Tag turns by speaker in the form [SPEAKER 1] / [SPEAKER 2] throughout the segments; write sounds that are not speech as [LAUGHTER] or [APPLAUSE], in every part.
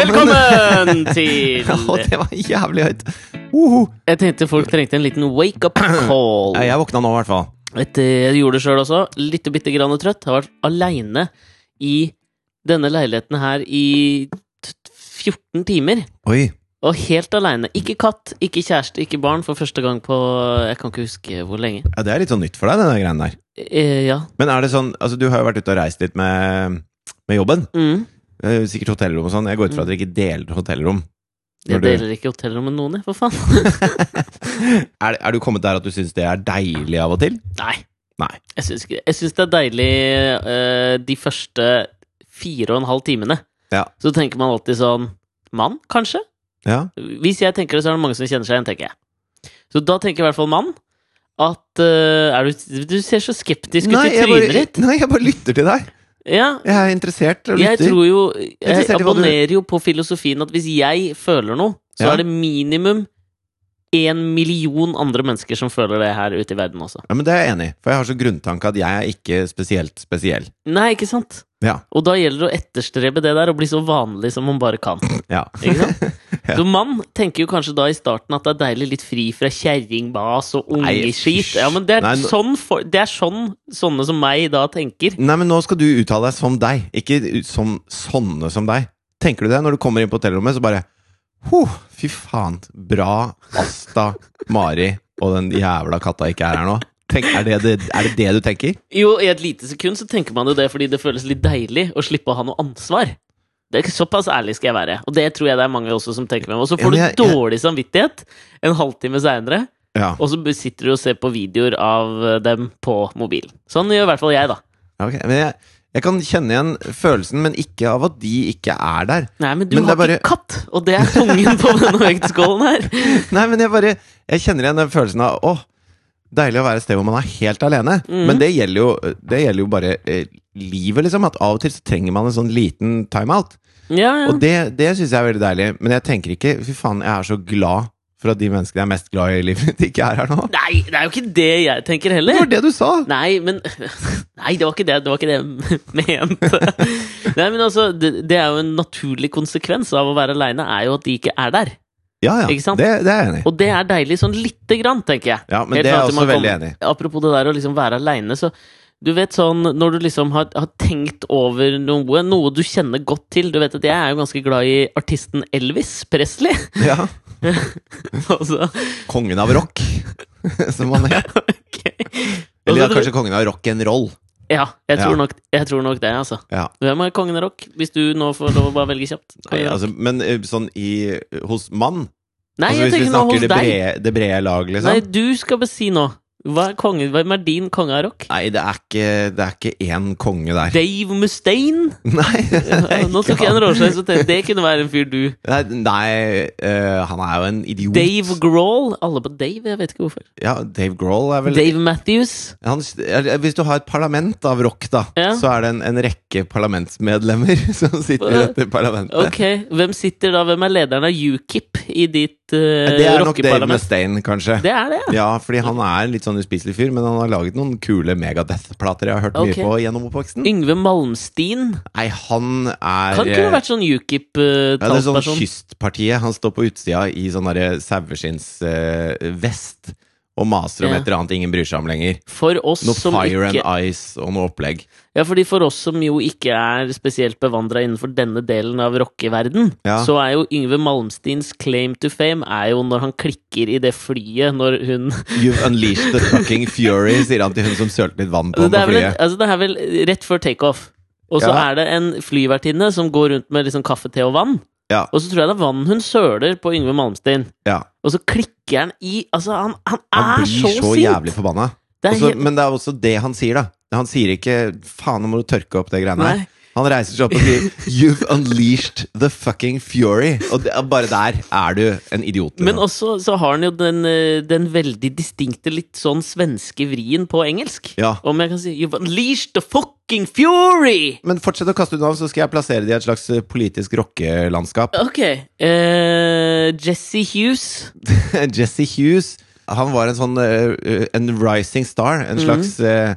[SPEAKER 1] Velkommen,
[SPEAKER 2] [LAUGHS]
[SPEAKER 1] [LAUGHS] til
[SPEAKER 2] Å, det var jævlig høyt. Uhu.
[SPEAKER 1] Jeg tenkte folk trengte en liten wake-up call.
[SPEAKER 2] Ja, Jeg våkna nå, i hvert fall.
[SPEAKER 1] Vet du, Jeg gjorde det sjøl også. Litt og bitte grann trøtt. Har vært aleine i denne leiligheten her i t- 14 timer.
[SPEAKER 2] Oi.
[SPEAKER 1] Og helt aleine. Ikke katt, ikke kjæreste, ikke barn. For første gang på Jeg kan ikke huske hvor lenge.
[SPEAKER 2] Ja, det er litt sånn nytt for deg, den der greien der.
[SPEAKER 1] Eh, ja.
[SPEAKER 2] Men er det sånn Altså, du har jo vært ute og reist litt med, med jobben.
[SPEAKER 1] Mm.
[SPEAKER 2] Eh, Sikkert hotellrom og sånn. Jeg går ut fra at dere ikke deler hotellrom. Når
[SPEAKER 1] Jeg
[SPEAKER 2] du-
[SPEAKER 1] deler ikke hotellrom med noen, jeg, for faen.
[SPEAKER 2] [LAUGHS] Er, er du kommet der at du syns det er deilig av og til?
[SPEAKER 1] Nei.
[SPEAKER 2] Nei.
[SPEAKER 1] Jeg syns, ikke, jeg syns det er deilig eh, de første fire og en halv timene.
[SPEAKER 2] Ja.
[SPEAKER 1] Så tenker man alltid sånn Mann, kanskje?
[SPEAKER 2] Ja.
[SPEAKER 1] Hvis jeg tenker det, så er det mange som kjenner seg igjen, tenker jeg. Så da tenker i hvert fall mann at eh, er du, du ser så skeptisk ut i
[SPEAKER 2] jeg
[SPEAKER 1] trynet
[SPEAKER 2] bare,
[SPEAKER 1] ditt.
[SPEAKER 2] nei, jeg bare lytter til deg.
[SPEAKER 1] Ja,
[SPEAKER 2] Jeg er interessert og
[SPEAKER 1] jeg
[SPEAKER 2] lytter.
[SPEAKER 1] tror jo Jeg
[SPEAKER 2] Interessert i hva du-
[SPEAKER 1] abonnerer jo på filosofien at hvis jeg føler noe, så
[SPEAKER 2] Ja.
[SPEAKER 1] er det minimum én million andre mennesker som føler det her ute i verden også.
[SPEAKER 2] Ja, men Det er jeg enig i, for jeg har så grunntanke at jeg er ikke spesielt spesiell.
[SPEAKER 1] Nei, ikke sant?
[SPEAKER 2] Ja.
[SPEAKER 1] Og da gjelder det å etterstrebe det der og bli så vanlig som man bare kan.
[SPEAKER 2] Ja.
[SPEAKER 1] Ikke
[SPEAKER 2] [LAUGHS]
[SPEAKER 1] sant? Så mann tenker jo kanskje da i starten at det er deilig litt fri fra kjerringbas og
[SPEAKER 2] Nei,
[SPEAKER 1] ungeskit.
[SPEAKER 2] fysj.
[SPEAKER 1] Ja, men det er,
[SPEAKER 2] Nei, nå-
[SPEAKER 1] sånn for, det er sånn sånne som meg da tenker.
[SPEAKER 2] Nei, men nå skal du uttale deg som deg, ikke u- som sånne som deg. Tenker du det når du kommer inn på hotellrommet, så bare huh, Fy faen, bra Asta, Mari og den jævla katta ikke er her nå. Tenk, er, det det, er det det du tenker?
[SPEAKER 1] Jo, i et lite sekund så tenker man jo det fordi det føles litt deilig å slippe å ha noe ansvar. Det er ikke Såpass ærlig skal jeg være. Og det tror jeg det er mange også som tenker med meg. Og så
[SPEAKER 2] Ja,
[SPEAKER 1] får
[SPEAKER 2] men
[SPEAKER 1] du
[SPEAKER 2] jeg- jeg-
[SPEAKER 1] dårlig samvittighet en halvtime seinere,
[SPEAKER 2] Ja,
[SPEAKER 1] og så sitter du og ser på videoer av eh, dem på mobilen. Sånn gjør i hvert fall jeg, da.
[SPEAKER 2] ok. Men jeg, jeg kan kjenne igjen følelsen, men ikke av at de ikke er der.
[SPEAKER 1] Nei, men du
[SPEAKER 2] Men det
[SPEAKER 1] har
[SPEAKER 2] er bare-
[SPEAKER 1] ikke katt, og det er tungen på denne vektskålen her.
[SPEAKER 2] Nei, men jeg bare Jeg kjenner igjen den følelsen av åh, deilig å være et sted hvor man er helt alene. Men det gjelder jo, det gjelder jo bare eh, livet, liksom. At av og til så trenger man en sånn liten timeout.
[SPEAKER 1] Ja, ja.
[SPEAKER 2] Og det, det syns jeg er veldig deilig. Men jeg tenker ikke Fy faen, jeg er så glad for at de menneskene jeg er mest glad i i livet mitt, ikke er her nå.
[SPEAKER 1] Nei, det er jo ikke det jeg tenker
[SPEAKER 2] Det
[SPEAKER 1] heller.
[SPEAKER 2] var det du sa!
[SPEAKER 1] Nei, men Nei, det var ikke det, det, var ikke det jeg mente. Nei, men altså, det, det er jo en naturlig konsekvens av å være aleine, er jo at de ikke er der.
[SPEAKER 2] Ja, ja.
[SPEAKER 1] Ikke sant?
[SPEAKER 2] Det, det er jeg enig i.
[SPEAKER 1] Og det er deilig sånn lite grann, tenker jeg.
[SPEAKER 2] Ja, men
[SPEAKER 1] Helt
[SPEAKER 2] det er
[SPEAKER 1] fram
[SPEAKER 2] jeg
[SPEAKER 1] til man
[SPEAKER 2] også veldig
[SPEAKER 1] kommer-
[SPEAKER 2] enig i.
[SPEAKER 1] Apropos det der å liksom være aleine, så du vet sånn når du liksom har, har tenkt over noe, noe du kjenner godt til Du vet at jeg er jo ganske glad i artisten Elvis Presley. [LAUGHS]
[SPEAKER 2] Ja.
[SPEAKER 1] altså,
[SPEAKER 2] Kongen av rock, [LAUGHS] som han het.
[SPEAKER 1] ok.
[SPEAKER 2] Eller ja,
[SPEAKER 1] Altså, du-
[SPEAKER 2] kanskje kongen av rock'n'roll.
[SPEAKER 1] Ja, jeg tror,
[SPEAKER 2] Ja.
[SPEAKER 1] Nok, jeg tror nok det, altså.
[SPEAKER 2] Ja.
[SPEAKER 1] Hvem er kongen av rock, hvis du nå får lov å bare velge kjapt?
[SPEAKER 2] Nei, altså, men eh, sånn i hos mann
[SPEAKER 1] Nei,
[SPEAKER 2] altså,
[SPEAKER 1] jeg
[SPEAKER 2] Hvis vi
[SPEAKER 1] tenker nå
[SPEAKER 2] snakker
[SPEAKER 1] hos
[SPEAKER 2] det
[SPEAKER 1] deg.
[SPEAKER 2] brede, det brede lag, liksom.
[SPEAKER 1] Nei, du skal bare si nå. Hva er kongen, hvem er din konge av rock?
[SPEAKER 2] Nei, det er ikke, det er ikke én konge der.
[SPEAKER 1] Dave Mustaine?
[SPEAKER 2] [LAUGHS]
[SPEAKER 1] [LAUGHS]
[SPEAKER 2] Nei, det er
[SPEAKER 1] Ja, Nå
[SPEAKER 2] ikke
[SPEAKER 1] tok jeg en
[SPEAKER 2] han.
[SPEAKER 1] råsjans og tenkte det kunne være en fyr du.
[SPEAKER 2] Nei, nei eh, han er jo en idiot.
[SPEAKER 1] Dave Grohl? Alle på Dave, jeg vet ikke hvorfor.
[SPEAKER 2] Ja, Dave Grohl er vel
[SPEAKER 1] Dave Matthews?
[SPEAKER 2] han, eller, Hvis du har et parlament av rock, da,
[SPEAKER 1] Ja.
[SPEAKER 2] så er det en, en rekke parlamentsmedlemmer [LAUGHS] som sitter i dette parlamentet.
[SPEAKER 1] Ok, hvem sitter da? Hvem er lederen av UKIP i ditt
[SPEAKER 2] Det er nok
[SPEAKER 1] uh,
[SPEAKER 2] Dave
[SPEAKER 1] rockeparlament?
[SPEAKER 2] Mustaine, kanskje.
[SPEAKER 1] Det er det, ja.
[SPEAKER 2] Ja, fordi han er en litt sånn uspiselig fyr, men han har laget noen kule Megadeth-plater jeg har hørt
[SPEAKER 1] Ok.
[SPEAKER 2] mye på gjennom oppvoksten.
[SPEAKER 1] Yngve Malmsteen?
[SPEAKER 2] Nei, han er
[SPEAKER 1] Han kunne vært sånn
[SPEAKER 2] Ja, det er sånn
[SPEAKER 1] UKIP-talsperson.
[SPEAKER 2] kystpartiet. Han står på utsida i sånn derre saueskinnsvest og maser om
[SPEAKER 1] Ja.
[SPEAKER 2] et eller annet ingen bryr seg om lenger.
[SPEAKER 1] For oss
[SPEAKER 2] Noe
[SPEAKER 1] som
[SPEAKER 2] Fire
[SPEAKER 1] ikke
[SPEAKER 2] and Ice og noe opplegg.
[SPEAKER 1] Ja, fordi for oss som jo ikke er spesielt bevandra innenfor denne delen av rockeverden,
[SPEAKER 2] Ja.
[SPEAKER 1] så er jo Yngve Malmsteens claim to fame er jo når han klikker i det flyet når hun
[SPEAKER 2] You've unleashed the fucking fury, sier han til hun som sølte litt vann på
[SPEAKER 1] altså,
[SPEAKER 2] ham
[SPEAKER 1] det,
[SPEAKER 2] på
[SPEAKER 1] er vel,
[SPEAKER 2] flyet.
[SPEAKER 1] altså, det er vel rett før takeoff. Og så
[SPEAKER 2] Ja.
[SPEAKER 1] er det en flyvertinne som går rundt med liksom kaffe, te og vann.
[SPEAKER 2] Ja.
[SPEAKER 1] Og så tror jeg det er vann hun søler på Yngve Malmsteen.
[SPEAKER 2] Ja.
[SPEAKER 1] Og så klikker han i Altså, han, han er
[SPEAKER 2] Han blir
[SPEAKER 1] så,
[SPEAKER 2] så,
[SPEAKER 1] sint!
[SPEAKER 2] jævlig forbanna.
[SPEAKER 1] Det er
[SPEAKER 2] Også,
[SPEAKER 1] helt-
[SPEAKER 2] men det er også det han sier, da. Han sier ikke 'faen, nå må du tørke opp det greiene her'.
[SPEAKER 1] Nei.
[SPEAKER 2] Han reiser seg opp og sier 'you've unleashed the fucking fury'. Og det, bare der er du en idiot. liksom.
[SPEAKER 1] Men også så har han jo den, eh, den veldig distinkte, litt sånn svenske vrien på engelsk.
[SPEAKER 2] Ja.
[SPEAKER 1] Om jeg kan si You've unleashed the fucking fury!
[SPEAKER 2] Men fortsett å kaste ut navn, så skal jeg plassere det i et slags eh, politisk rockelandskap. [LAUGHS]
[SPEAKER 1] Ok. eh, Jesse Hughes.
[SPEAKER 2] Jesse Hughes, han var en sånn eh, eh, En rising star. En slags eh,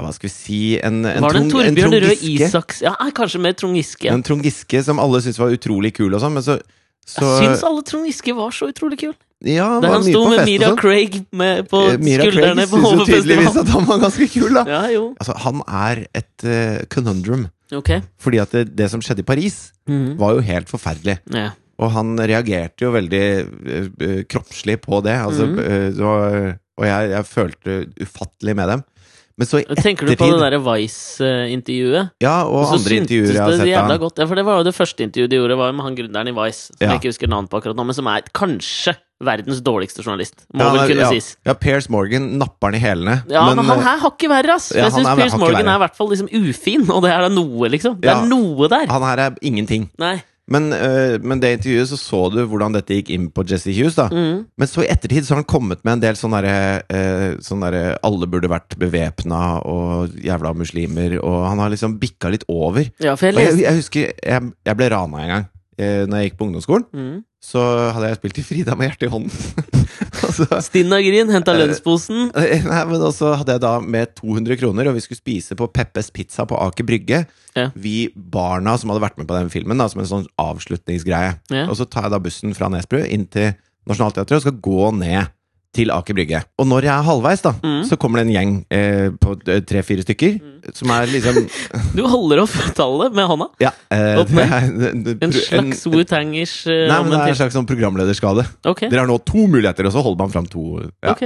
[SPEAKER 2] ja, hva skal vi si En, en,
[SPEAKER 1] Mm. Var det en
[SPEAKER 2] Trond- en
[SPEAKER 1] Torbjørn
[SPEAKER 2] Trond
[SPEAKER 1] Røe
[SPEAKER 2] Giske.
[SPEAKER 1] Isaks Ja, nei, kanskje mer Trond Giske.
[SPEAKER 2] En Trond Giske som alle syntes var utrolig kul og sånn, men så, så
[SPEAKER 1] Jeg syns alle Trond Giske var så utrolig kul.
[SPEAKER 2] Ja, han
[SPEAKER 1] Der
[SPEAKER 2] var
[SPEAKER 1] han
[SPEAKER 2] mye
[SPEAKER 1] sto
[SPEAKER 2] på fest
[SPEAKER 1] med
[SPEAKER 2] og
[SPEAKER 1] Mira
[SPEAKER 2] sånn.
[SPEAKER 1] Craig med på
[SPEAKER 2] Eh, Mira
[SPEAKER 1] skuldrene
[SPEAKER 2] Craig
[SPEAKER 1] på
[SPEAKER 2] synes jo tydeligvis
[SPEAKER 1] Hovefestivalen.
[SPEAKER 2] at han var ganske kul, da.
[SPEAKER 1] Ja, jo.
[SPEAKER 2] Altså, han er et eh, conundrum.
[SPEAKER 1] Ok.
[SPEAKER 2] Fordi at det, det som skjedde i Paris,
[SPEAKER 1] Mhm.
[SPEAKER 2] var jo helt forferdelig.
[SPEAKER 1] Ja.
[SPEAKER 2] Og han reagerte jo veldig eh, eh, kroppslig på det. Altså,
[SPEAKER 1] Mhm.
[SPEAKER 2] eh, det var, og jeg, jeg følte ufattelig med dem. Men så i
[SPEAKER 1] Tenker du på det
[SPEAKER 2] ettertid
[SPEAKER 1] derre Vice-intervjuet?
[SPEAKER 2] Ja, og
[SPEAKER 1] Så
[SPEAKER 2] andre intervjuer jeg har
[SPEAKER 1] syntes
[SPEAKER 2] sett
[SPEAKER 1] det
[SPEAKER 2] av
[SPEAKER 1] jævla
[SPEAKER 2] han.
[SPEAKER 1] godt. Ja, for det var jo det første intervjuet de gjorde, var jo med han gründeren i Vice, som
[SPEAKER 2] Ja.
[SPEAKER 1] jeg ikke husker navnet på akkurat nå, men som er kanskje verdens dårligste journalist. Må
[SPEAKER 2] Ja, han
[SPEAKER 1] vel
[SPEAKER 2] er-
[SPEAKER 1] kunne
[SPEAKER 2] ja,
[SPEAKER 1] sies.
[SPEAKER 2] ja, Piers Morgan napper han i hælene.
[SPEAKER 1] Ja, men, han
[SPEAKER 2] eh,
[SPEAKER 1] her har ikke verre, ass.
[SPEAKER 2] ja,
[SPEAKER 1] jeg
[SPEAKER 2] han
[SPEAKER 1] syns
[SPEAKER 2] er
[SPEAKER 1] Piers
[SPEAKER 2] hakket
[SPEAKER 1] Morgan
[SPEAKER 2] verre.
[SPEAKER 1] er i hvert fall liksom ufin, og det er da noe, liksom. Det
[SPEAKER 2] Ja.
[SPEAKER 1] er noe der.
[SPEAKER 2] han her er ingenting.
[SPEAKER 1] Nei.
[SPEAKER 2] Men, øh, men det intervjuet så så du hvordan dette gikk inn på Jesse Hughes. da
[SPEAKER 1] Mm.
[SPEAKER 2] Men så i ettertid så har han kommet med en del sånne derre øh, sånn derre Alle burde vært bevæpna og jævla muslimer, og han har liksom bikka litt over.
[SPEAKER 1] Ja, for jeg
[SPEAKER 2] Og jeg,
[SPEAKER 1] leste
[SPEAKER 2] jeg husker jeg, jeg ble rana en gang. Eh, når jeg gikk på ungdomsskolen,
[SPEAKER 1] mm.
[SPEAKER 2] så hadde jeg spilt i Frida med hjertet i hånden. [LAUGHS] Og så-
[SPEAKER 1] Stinna Green henta
[SPEAKER 2] Eh, [LAUGHS]
[SPEAKER 1] lønnsposen.
[SPEAKER 2] Nei, men også hadde jeg da med 200 kroner, og vi skulle spise på Peppes Pizza på Aker Brygge.
[SPEAKER 1] Ja.
[SPEAKER 2] Vi barna som hadde vært med på den filmen, da, som en sånn avslutningsgreie.
[SPEAKER 1] Ja.
[SPEAKER 2] Og så tar jeg da bussen fra Nesbru inn til Nationaltheatret og skal gå ned til Aker Brygge. Og når jeg er halvveis, da,
[SPEAKER 1] Mm.
[SPEAKER 2] så kommer det en gjeng eh, på tre-fire stykker som er liksom
[SPEAKER 1] [LAUGHS] Du holder opp tallet med hånda.
[SPEAKER 2] Ja. Eh,
[SPEAKER 1] Opp ned.
[SPEAKER 2] det er-
[SPEAKER 1] En
[SPEAKER 2] pro- en-
[SPEAKER 1] slags Wu-Tangers eh,
[SPEAKER 2] Nei, men det er en
[SPEAKER 1] omvendt.
[SPEAKER 2] slags sånn programlederskade.
[SPEAKER 1] Ok.
[SPEAKER 2] Dere har nå to muligheter, og så holder man fram to. Ja.
[SPEAKER 1] ok.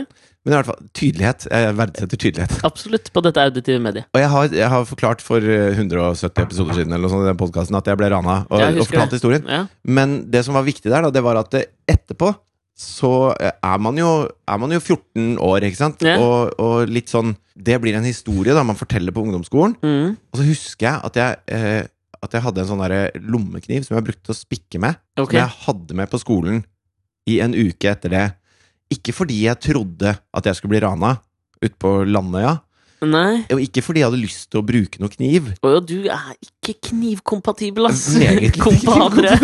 [SPEAKER 2] Men i hvert fall, tydelighet. Jeg verdsetter tydelighet.
[SPEAKER 1] Absolutt. På dette auditive mediet.
[SPEAKER 2] Og jeg har, jeg har forklart for eh, 170 episoder siden eller noe sånt, i den podcasten, at jeg ble rana og,
[SPEAKER 1] Jeg
[SPEAKER 2] og
[SPEAKER 1] husker
[SPEAKER 2] fortalte historien.
[SPEAKER 1] Ja.
[SPEAKER 2] Men det som var viktig der, da, det var at eh, etterpå så eh, er man jo, er man jo 14 år, ikke sant?
[SPEAKER 1] Ja.
[SPEAKER 2] Og, og litt sånn Det blir en historie da man forteller på ungdomsskolen.
[SPEAKER 1] Mm.
[SPEAKER 2] Og så husker jeg at jeg, eh, at jeg hadde en sånn derre lommekniv som jeg brukte til å spikke med.
[SPEAKER 1] Ok.
[SPEAKER 2] Som jeg hadde med på skolen i en uke etter det. Ikke fordi jeg trodde at jeg skulle bli rana ute på Landøya.
[SPEAKER 1] Nei.
[SPEAKER 2] Og ikke fordi jeg hadde lyst til å bruke noe
[SPEAKER 1] [LAUGHS]
[SPEAKER 2] kniv.
[SPEAKER 1] Å ja, du er ikke knivkompatibel, ass!
[SPEAKER 2] Meget lite
[SPEAKER 1] Kompadre!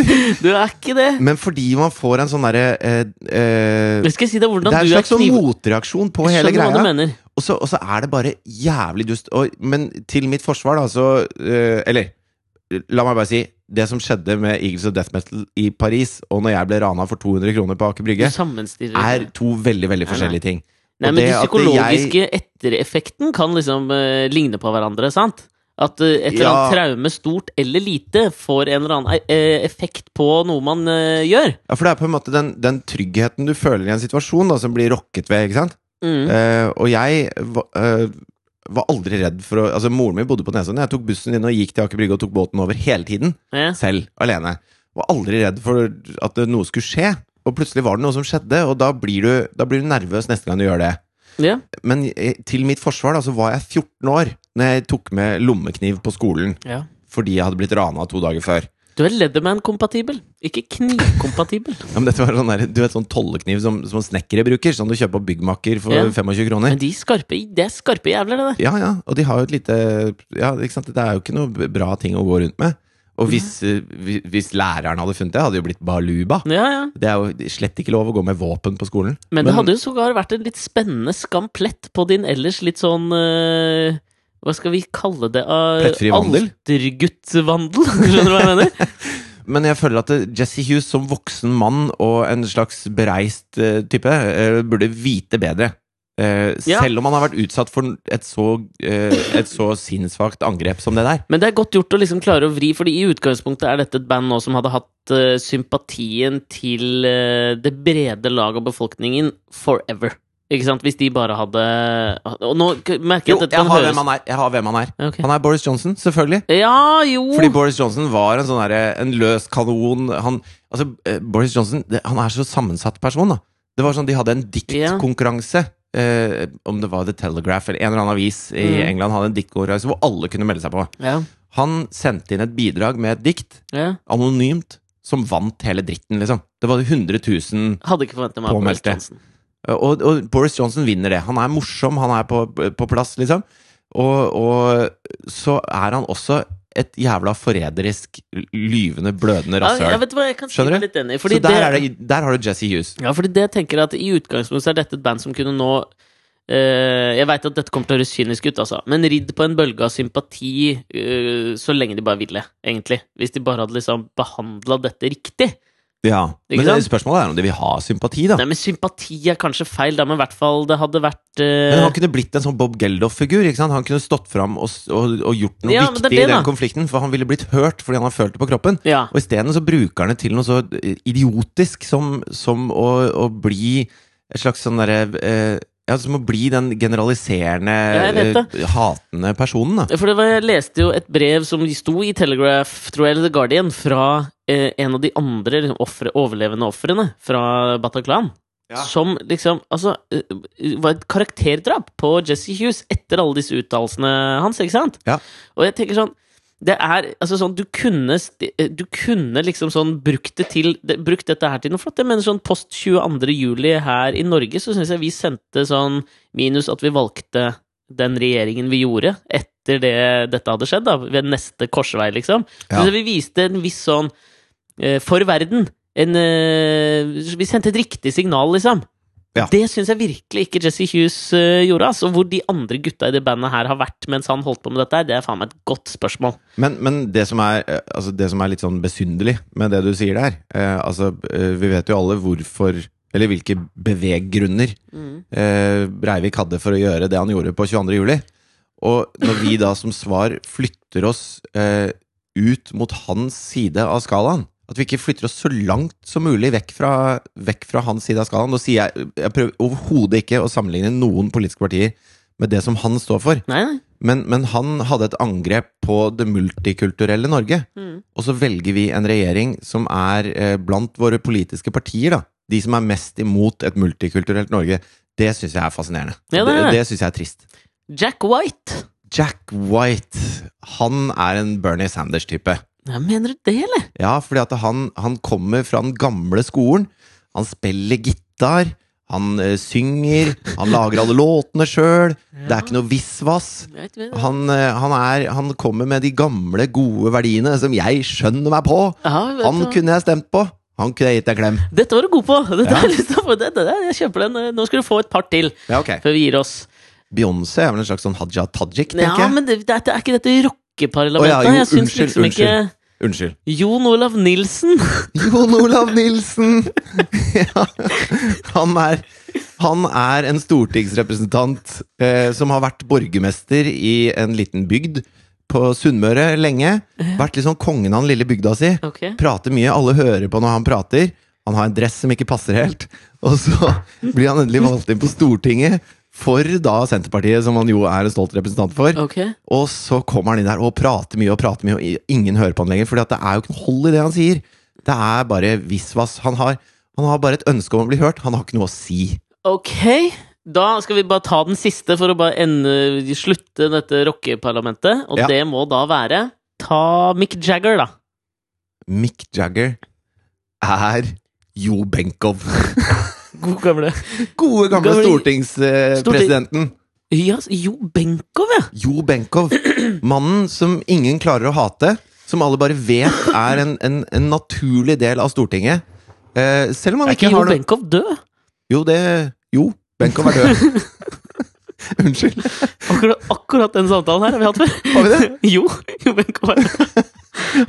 [SPEAKER 1] Du er ikke det!
[SPEAKER 2] [LAUGHS] Men fordi man får en sånn derre eh, eh,
[SPEAKER 1] Jeg skal si deg
[SPEAKER 2] Det
[SPEAKER 1] hvordan
[SPEAKER 2] er en
[SPEAKER 1] du er
[SPEAKER 2] slags sånn
[SPEAKER 1] kniv...
[SPEAKER 2] motreaksjon på hele
[SPEAKER 1] Skjønner hva du
[SPEAKER 2] greia.
[SPEAKER 1] mener.
[SPEAKER 2] Og så, og så er det bare jævlig dust. Og, men til mitt forsvar, da, så eh, Eller la meg bare si. Det som skjedde med Eagles of Death Metal i Paris, og når jeg ble rana for 200 kroner på Aker
[SPEAKER 1] Du
[SPEAKER 2] Brygge,
[SPEAKER 1] sammenstiller
[SPEAKER 2] er
[SPEAKER 1] det.
[SPEAKER 2] to veldig veldig
[SPEAKER 1] Nei, nei.
[SPEAKER 2] forskjellige ting.
[SPEAKER 1] Nei,
[SPEAKER 2] og
[SPEAKER 1] men
[SPEAKER 2] det
[SPEAKER 1] de
[SPEAKER 2] at jeg-
[SPEAKER 1] psykologiske ettereffekten kan liksom eh, ligne på hverandre, sant? At eh, et eller annet
[SPEAKER 2] Ja.
[SPEAKER 1] traume, stort eller lite, får en eller annen eh, effekt på noe man eh, gjør.
[SPEAKER 2] Ja, For det er på en måte den, den tryggheten du føler i en situasjon, da, som blir rokket ved. ikke sant?
[SPEAKER 1] Mm.
[SPEAKER 2] Eh, og jeg va, eh, var aldri redd for å Altså, moren min bodde på Nesodden. Jeg tok bussen inn og gikk til Aker Brygge og tok båten over hele tiden.
[SPEAKER 1] Ja.
[SPEAKER 2] Selv. Alene. Var aldri redd for at det- noe skulle skje. Og plutselig var det noe som skjedde, og da blir du, da blir du nervøs neste gang du gjør det.
[SPEAKER 1] Ja.
[SPEAKER 2] Men eh, til mitt forsvar da, så var jeg 14 år Når jeg tok med lommekniv på skolen
[SPEAKER 1] Ja.
[SPEAKER 2] fordi jeg hadde blitt rana to dager før.
[SPEAKER 1] Du er Leatherman-kompatibel, ikke
[SPEAKER 2] [LAUGHS]
[SPEAKER 1] knivkompatibel.
[SPEAKER 2] Ja, men dette var sånn der, du vet sånn tollekniv som, som snekkere bruker, sånn du kjøper på Byggmaker for
[SPEAKER 1] Ja.
[SPEAKER 2] 25 kroner.
[SPEAKER 1] Men de skarpe, det er skarpe jævler, det der.
[SPEAKER 2] Ja, ja, og de har jo et lite ja, ikke sant? Det er jo ikke noe bra ting å gå rundt med. Og hvis, eh, hvi- hvis læreren hadde funnet det, hadde det jo blitt baluba.
[SPEAKER 1] Ja, ja.
[SPEAKER 2] Det er jo slett ikke lov å gå med våpen på skolen.
[SPEAKER 1] Men det hadde jo sågar vært en litt spennende skamplett på din ellers litt sånn eh, Hva skal vi kalle det? Uh,
[SPEAKER 2] Plettfri vandel?
[SPEAKER 1] Alterguttvandel, [LAUGHS] skjønner du hva jeg mener?
[SPEAKER 2] Men jeg føler at det- Jesse Hughes som voksen mann og en slags bereist eh, type eh, burde vite bedre. Eh,
[SPEAKER 1] Ja.
[SPEAKER 2] Selv om han har vært utsatt for et så, eh, et så sinnssvakt angrep som det der.
[SPEAKER 1] Men det er godt gjort å liksom klare å vri, fordi i utgangspunktet er dette et band nå som hadde hatt eh, sympatien til eh, det brede lag av befolkningen forever. Ikke sant? Hvis de bare hadde Og nå k-
[SPEAKER 2] Jo,
[SPEAKER 1] merker jeg at
[SPEAKER 2] jeg
[SPEAKER 1] dette kan
[SPEAKER 2] har hvem
[SPEAKER 1] høres
[SPEAKER 2] han er. Jeg har hvem han er.
[SPEAKER 1] Ja, ok.
[SPEAKER 2] Han er Boris Johnson, selvfølgelig.
[SPEAKER 1] Ja, jo!
[SPEAKER 2] Fordi Boris Johnson var en sånn derre- en løs kanon han, altså, eh, Boris Johnson det, han er så sammensatt person da Det var sånn de hadde en diktkonkurranse eh, Om det var The Telegraph Eller en eller annen avis i
[SPEAKER 1] Mm.
[SPEAKER 2] England Hadde en diktkonkurranse hvor alle kunne melde seg på
[SPEAKER 1] Ja,
[SPEAKER 2] Han sendte inn et bidrag med et dikt
[SPEAKER 1] ja.
[SPEAKER 2] Anonymt Som vant hele dritten liksom Det var 100 000
[SPEAKER 1] Hadde ikke forventa meg Boris
[SPEAKER 2] Påmeldte.
[SPEAKER 1] Johnson.
[SPEAKER 2] Eh, og, og Boris Johnson vinner det. Han er morsom, han er på, på plass, liksom. Og, og så er han også et jævla forræderisk, lyvende, blødende
[SPEAKER 1] Ja, jeg
[SPEAKER 2] rasshøl.
[SPEAKER 1] vet hva, jeg kan si
[SPEAKER 2] Skjønner
[SPEAKER 1] meg
[SPEAKER 2] du?
[SPEAKER 1] litt enig. i,
[SPEAKER 2] Så
[SPEAKER 1] fordi
[SPEAKER 2] der, er det, der har du Jesse Hughes.
[SPEAKER 1] Ja, fordi det tenker jeg at i utgangspunktet så er dette et band som kunne nå Eh, jeg veit at dette kommer til å høres kynisk ut, altså, men ridd på en bølge av sympati eh, så lenge de bare ville, egentlig. Hvis de bare hadde liksom behandla dette riktig.
[SPEAKER 2] Ja. Men
[SPEAKER 1] Ikke
[SPEAKER 2] det,
[SPEAKER 1] sant?
[SPEAKER 2] spørsmålet er om de vil ha sympati, da.
[SPEAKER 1] Nei, men sympati er kanskje feil, da, men i hvert fall det hadde vært eh,
[SPEAKER 2] Men han kunne blitt en sånn Bob Geldof-figur. ikke sant? Han kunne stått fram og, s- og, og gjort noe
[SPEAKER 1] Ja, men det
[SPEAKER 2] viktig
[SPEAKER 1] er det,
[SPEAKER 2] i den
[SPEAKER 1] da.
[SPEAKER 2] konflikten, for han ville blitt hørt fordi han har følt det på kroppen.
[SPEAKER 1] Ja.
[SPEAKER 2] Og isteden så bruker han det til noe så idiotisk som, som å, å bli et slags sånn derre eh, Ja, som å bli den generaliserende,
[SPEAKER 1] Ja, jeg vet
[SPEAKER 2] eh, hatende personen, da.
[SPEAKER 1] For det var, jeg leste jo et brev som sto i Telegraph, tror jeg, eller The Guardian, fra eh, en av de andre liksom, offre, overlevende ofrene fra Bataclan.
[SPEAKER 2] Ja.
[SPEAKER 1] Som liksom Altså, eh, var et karakterdrap på Jesse Hughes etter alle disse uttalelsene hans, ikke sant?
[SPEAKER 2] Ja.
[SPEAKER 1] Og jeg tenker sånn det er altså sånn, Du kunne, sti- eh, du kunne liksom sånn brukt det til det- Brukt dette her til noe flott. Jeg mener sånn post 22. juli her i Norge, så syns jeg vi sendte sånn Minus at vi valgte den regjeringen vi gjorde etter det dette hadde skjedd, da, ved neste korsvei, liksom.
[SPEAKER 2] Ja.
[SPEAKER 1] Så vi viste en viss sånn eh, For verden. En, eh, vi sendte et riktig signal, liksom.
[SPEAKER 2] Ja.
[SPEAKER 1] Det syns jeg virkelig ikke Jesse Hughes eh, gjorde. Altså, hvor de andre gutta i det bandet her har vært mens han holdt på med dette, her, det er faen meg et godt spørsmål.
[SPEAKER 2] Men, men det, som er, eh, altså det som er litt sånn besynderlig med det du sier der eh, altså, eh, Vi vet jo alle hvorfor Eller hvilke beveggrunner
[SPEAKER 1] Mm.
[SPEAKER 2] eh, Breivik hadde for å gjøre det han gjorde på 22. juli. Og når vi da som svar flytter oss eh, ut mot hans side av skalaen At vi ikke flytter oss så langt som mulig vekk fra, vekk fra hans side av skalaen Nå sier jeg, jeg prøver overhodet ikke å sammenligne noen politiske partier med det som han står for.
[SPEAKER 1] Nei, nei.
[SPEAKER 2] Men, men han hadde et angrep på det multikulturelle Norge.
[SPEAKER 1] Mm.
[SPEAKER 2] Og så velger vi en regjering som er eh, blant våre politiske partier, da. De som er mest imot et multikulturelt Norge. Det syns jeg er fascinerende.
[SPEAKER 1] Ja, det er det.
[SPEAKER 2] det syns jeg er trist.
[SPEAKER 1] Jack White!
[SPEAKER 2] Jack White, han er en Bernie Sanders-type.
[SPEAKER 1] Ja, mener du det, eller?
[SPEAKER 2] Ja, fordi at han, han kommer fra den gamle skolen. Han spiller gitar, han eh, synger, han lager alle låtene sjøl. Det er ikke noe visvas.
[SPEAKER 1] Jeg vet ikke.
[SPEAKER 2] Han, eh, han, er, han kommer med de gamle, gode verdiene som jeg skjønner meg på.
[SPEAKER 1] Ja, jeg vet
[SPEAKER 2] Han
[SPEAKER 1] hva.
[SPEAKER 2] kunne jeg stemt på. Han kunne jeg gitt en klem.
[SPEAKER 1] Dette var du god på! [LAUGHS] Dette
[SPEAKER 2] Ja.
[SPEAKER 1] har jeg lyst til å få. Dette, det, jeg kjøper den. Nå skal du få et par til
[SPEAKER 2] Ja, ok.
[SPEAKER 1] før vi gir oss.
[SPEAKER 2] Beyoncé er vel en slags sånn Haja Tajik, tenker
[SPEAKER 1] Ja,
[SPEAKER 2] jeg.
[SPEAKER 1] men det, det, er ikke dette rockeparlamentet?
[SPEAKER 2] Å ja, jo,
[SPEAKER 1] jeg syns
[SPEAKER 2] unnskyld,
[SPEAKER 1] liksom ikke
[SPEAKER 2] unnskyld. Unnskyld.
[SPEAKER 1] Jon Olav Nilsen! [LAUGHS]
[SPEAKER 2] Jon Olav Nilsen! [LAUGHS] ja. han, er, han er en stortingsrepresentant eh, som har vært borgermester i en liten bygd på Sunnmøre lenge. Vært liksom kongen av den lille bygda si.
[SPEAKER 1] Ok.
[SPEAKER 2] prater mye, alle hører på når han prater. Han har en dress som ikke passer helt. Og så blir han endelig valgt inn på Stortinget for da Senterpartiet, som han jo er en stolt representant for.
[SPEAKER 1] Ok.
[SPEAKER 2] Og så kommer han inn der og prater mye og prater mye, og i- ingen hører på han lenger. For det er jo ikke noe hold i det han sier. Det er bare visvas. Han har, han har bare et ønske om å bli hørt. Han har ikke noe å si.
[SPEAKER 1] Ok. Da skal vi bare ta den siste for å bare ende, slutte dette rockeparlamentet. Og
[SPEAKER 2] Ja.
[SPEAKER 1] det må da være Ta Mick Jagger, da.
[SPEAKER 2] Mick Jagger er Jo Benkow.
[SPEAKER 1] God gamle
[SPEAKER 2] [LAUGHS] Gode, gamle eh,
[SPEAKER 1] Gamle-
[SPEAKER 2] stortingspresidenten.
[SPEAKER 1] Ja, Jo Benkow, ja!
[SPEAKER 2] Jo Benkow. Mannen som ingen klarer å hate. Som alle bare vet er en, en, en naturlig del av Stortinget. Eh, selv om han
[SPEAKER 1] Er
[SPEAKER 2] ikke
[SPEAKER 1] ikke Jo
[SPEAKER 2] har noe
[SPEAKER 1] Benkow død?
[SPEAKER 2] Jo, det Jo, Benkow er
[SPEAKER 1] [LAUGHS]
[SPEAKER 2] død. Unnskyld.
[SPEAKER 1] Akkurat, akkurat den samtalen her har vi hatt før.
[SPEAKER 2] Har vi det?
[SPEAKER 1] [LAUGHS] Jo, Jo Benkow er død.
[SPEAKER 2] [LAUGHS]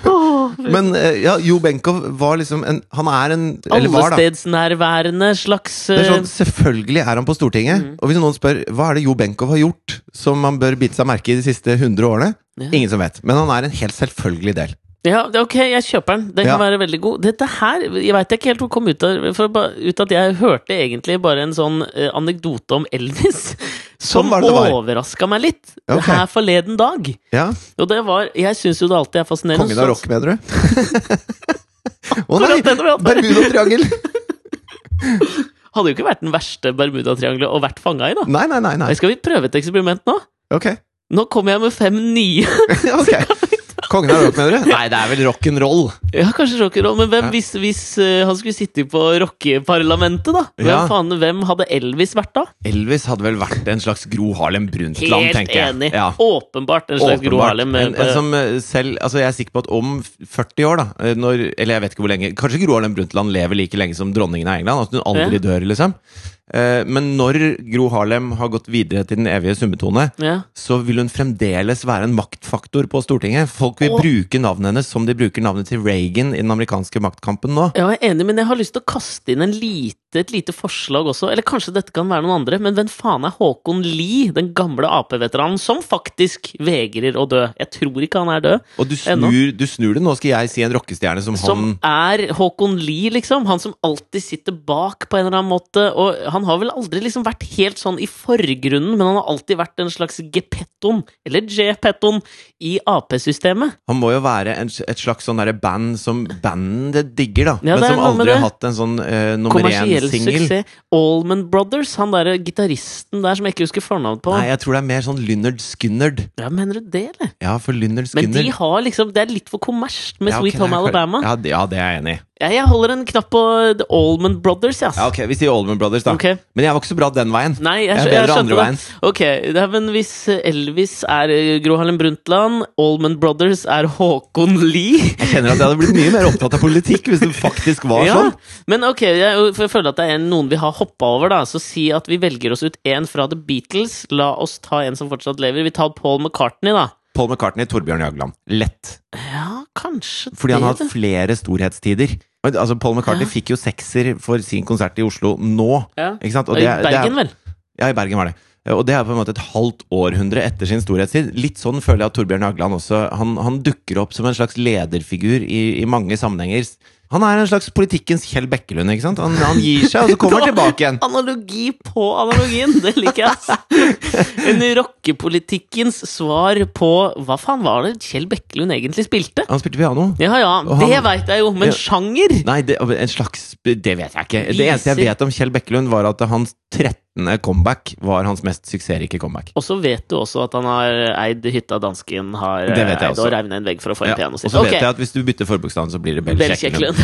[SPEAKER 1] Åh,
[SPEAKER 2] Men eh, ja, Jo Benkow var liksom en Han er en Eller var, da.
[SPEAKER 1] Allestedsnærværende slags
[SPEAKER 2] Det er
[SPEAKER 1] eh,
[SPEAKER 2] sånn, selvfølgelig er han på Stortinget.
[SPEAKER 1] Mm.
[SPEAKER 2] Og hvis noen spør hva er det Jo Benkow har gjort som man bør bite seg merke i de siste 100 årene,
[SPEAKER 1] Ja.
[SPEAKER 2] ingen som vet. Men han er en helt selvfølgelig del.
[SPEAKER 1] Ja, det er ok, jeg kjøper den. Den kan
[SPEAKER 2] Ja.
[SPEAKER 1] være veldig god. Dette her jeg veit ikke helt hvor det kom ut av, for ba- ut at jeg hørte egentlig bare en sånn eh, anekdote om Elvis som
[SPEAKER 2] [LAUGHS] Sånn var det det var.
[SPEAKER 1] overraska meg litt
[SPEAKER 2] Ok.
[SPEAKER 1] her forleden dag.
[SPEAKER 2] Ja
[SPEAKER 1] Og det var Jeg syns jo det alltid er fascinerende.
[SPEAKER 2] Kongen av rock, mener du? [LAUGHS] Å nei!
[SPEAKER 1] Akkurat den vi hadde.
[SPEAKER 2] Bermuda-triangel!
[SPEAKER 1] Så Hadde jo ikke vært den verste Bermudatriangelet å vært fanga i, da.
[SPEAKER 2] [LAUGHS] Nei, nei, nei. nei.
[SPEAKER 1] Skal vi prøve et eksperiment nå?
[SPEAKER 2] Ok. [LAUGHS]
[SPEAKER 1] Nå kommer jeg med fem nye.
[SPEAKER 2] ok. Kongen av rock, mener du? Nei, det er vel rock'n'roll.
[SPEAKER 1] Ja, kanskje rock'n'roll, men hvem
[SPEAKER 2] Ja.
[SPEAKER 1] hvis, hvis eh, han skulle sitte på rockeparlamentet, da? Hvem,
[SPEAKER 2] Ja.
[SPEAKER 1] faen, hvem hadde Elvis vært da?
[SPEAKER 2] Elvis hadde vel vært en slags Gro Harlem Brundtland,
[SPEAKER 1] Helt
[SPEAKER 2] tenker jeg.
[SPEAKER 1] enig.
[SPEAKER 2] Ja.
[SPEAKER 1] Åpenbart en slags Gro
[SPEAKER 2] Åpenbart.
[SPEAKER 1] Harlem. eh,
[SPEAKER 2] En, en som eh, selv, altså Jeg er sikker på at om f- 40 år, da eh, altså, når, Eller jeg vet ikke hvor lenge Kanskje Gro Harlem Brundtland lever like lenge som dronningen av England? At hun aldri dør, liksom. Eh, men når Gro Harlem har gått videre til den evige summetone,
[SPEAKER 1] Ja.
[SPEAKER 2] så vil hun fremdeles være en maktfaktor på Stortinget. Folk vil
[SPEAKER 1] Og-
[SPEAKER 2] bruke navnet hennes som de bruker navnet til Reagan i den amerikanske maktkampen nå.
[SPEAKER 1] Ja, jeg er enig, men jeg har lyst til å kaste inn en lite, et lite forslag også. Eller kanskje dette kan være noen andre, men hvem faen er Håkon Lie, den gamle Ap-veteranen som faktisk vegrer å dø? Jeg tror ikke han er død.
[SPEAKER 2] Og du
[SPEAKER 1] Ennå.
[SPEAKER 2] snur, du snur det. Nå skal jeg si en rockestjerne som,
[SPEAKER 1] Som
[SPEAKER 2] han
[SPEAKER 1] er Håkon Lie, liksom. Han som alltid sitter bak på en eller annen måte. Og han har vel aldri liksom vært helt sånn i forgrunnen, men han har alltid vært en slags gepetton, eller jepetton, i Ap-systemet.
[SPEAKER 2] Han må jo være en, et slags sånn derre band som bandet digger, da.
[SPEAKER 1] Ja,
[SPEAKER 2] men
[SPEAKER 1] det
[SPEAKER 2] som
[SPEAKER 1] er noe med
[SPEAKER 2] aldri har
[SPEAKER 1] det.
[SPEAKER 2] hatt en sånn eh, nummer
[SPEAKER 1] Kommersiell
[SPEAKER 2] én-singel.
[SPEAKER 1] suksess. Allman Brothers, han derre gitaristen der som jeg ikke husker fornavnet på.
[SPEAKER 2] Nei, jeg tror det er mer sånn Lynnard Skynnard.
[SPEAKER 1] Ja, mener du det, eller?
[SPEAKER 2] Ja, for Lynnard
[SPEAKER 1] Men
[SPEAKER 2] Skynnard
[SPEAKER 1] de har liksom, det er litt for kommersielt med
[SPEAKER 2] Ja, ok,
[SPEAKER 1] Sweet Home
[SPEAKER 2] nei, for-
[SPEAKER 1] Alabama.
[SPEAKER 2] Ja, det- ja, det er jeg enig i.
[SPEAKER 1] Jeg, jeg holder en knapp på The Allman Brothers, ass.
[SPEAKER 2] Ja, ok, Vi sier Oldman Brothers, da.
[SPEAKER 1] Ok.
[SPEAKER 2] Men jeg var ikke så bra den veien.
[SPEAKER 1] Nei,
[SPEAKER 2] Jeg
[SPEAKER 1] jeg,
[SPEAKER 2] er
[SPEAKER 1] skjø-
[SPEAKER 2] bedre
[SPEAKER 1] jeg skjønte
[SPEAKER 2] andre
[SPEAKER 1] det.
[SPEAKER 2] veien.
[SPEAKER 1] Ok, det er, men hvis Elvis er eh, Gro Harlem Brundtland, Allman Brothers er Håkon Lie
[SPEAKER 2] Jeg kjenner at jeg hadde blitt mye mer opptatt av politikk hvis det faktisk var
[SPEAKER 1] [LAUGHS] ja,
[SPEAKER 2] sånn.
[SPEAKER 1] Men ok, jeg, for jeg føler at det er en- noen vi har hoppa over, da. Så si at vi velger oss ut en fra The Beatles. La oss ta en som fortsatt lever. Vi tar Paul McCartney, da.
[SPEAKER 2] Paul McCartney, Torbjørn Jagland. Lett.
[SPEAKER 1] Ja, kanskje
[SPEAKER 2] Fordi han har
[SPEAKER 1] det.
[SPEAKER 2] hatt flere storhetstider. Men, Altså, Paul McCartney
[SPEAKER 1] Ja.
[SPEAKER 2] fikk jo sekser for sin konsert i Oslo nå.
[SPEAKER 1] ja.
[SPEAKER 2] Ikke sant? Og
[SPEAKER 1] I
[SPEAKER 2] det er- det er-
[SPEAKER 1] Bergen, vel?
[SPEAKER 2] Ja, i Bergen var det. Og det er på en måte et halvt århundre etter sin storhetstid. Litt sånn føler jeg at Torbjørn Jagland også han, han dukker opp som en slags lederfigur i, i mange sammenhenger. Han er en slags politikkens Kjell Bekkelund, ikke sant? Han, han gir seg, og så
[SPEAKER 1] [LAUGHS]
[SPEAKER 2] kommer han tilbake igjen.
[SPEAKER 1] Analogi på analogien, det liker
[SPEAKER 2] [LAUGHS]
[SPEAKER 1] jeg. ass. En rockepolitikkens svar på Hva faen var det Kjell Bekkelund egentlig spilte?
[SPEAKER 2] Han spilte piano.
[SPEAKER 1] Ja ja,
[SPEAKER 2] Og
[SPEAKER 1] det
[SPEAKER 2] han-
[SPEAKER 1] veit jeg jo, men
[SPEAKER 2] Ja.
[SPEAKER 1] sjanger?
[SPEAKER 2] Nei, det, en slags Det vet jeg ikke. Det eneste jeg
[SPEAKER 1] Viser.
[SPEAKER 2] vet om Kjell Bekkelund, var at hans 13. comeback var hans mest suksessrike comeback.
[SPEAKER 1] Og så vet du også at han har eid hytta dansken har
[SPEAKER 2] Det vet jeg
[SPEAKER 1] eid
[SPEAKER 2] også.
[SPEAKER 1] å revne en vegg for å få en
[SPEAKER 2] Ja,
[SPEAKER 1] piano
[SPEAKER 2] og
[SPEAKER 1] sitt.
[SPEAKER 2] så vet
[SPEAKER 1] Ok,
[SPEAKER 2] jeg at hvis du bytter forbokstaven, så blir det Bell
[SPEAKER 1] Bell
[SPEAKER 2] Kjekkelund.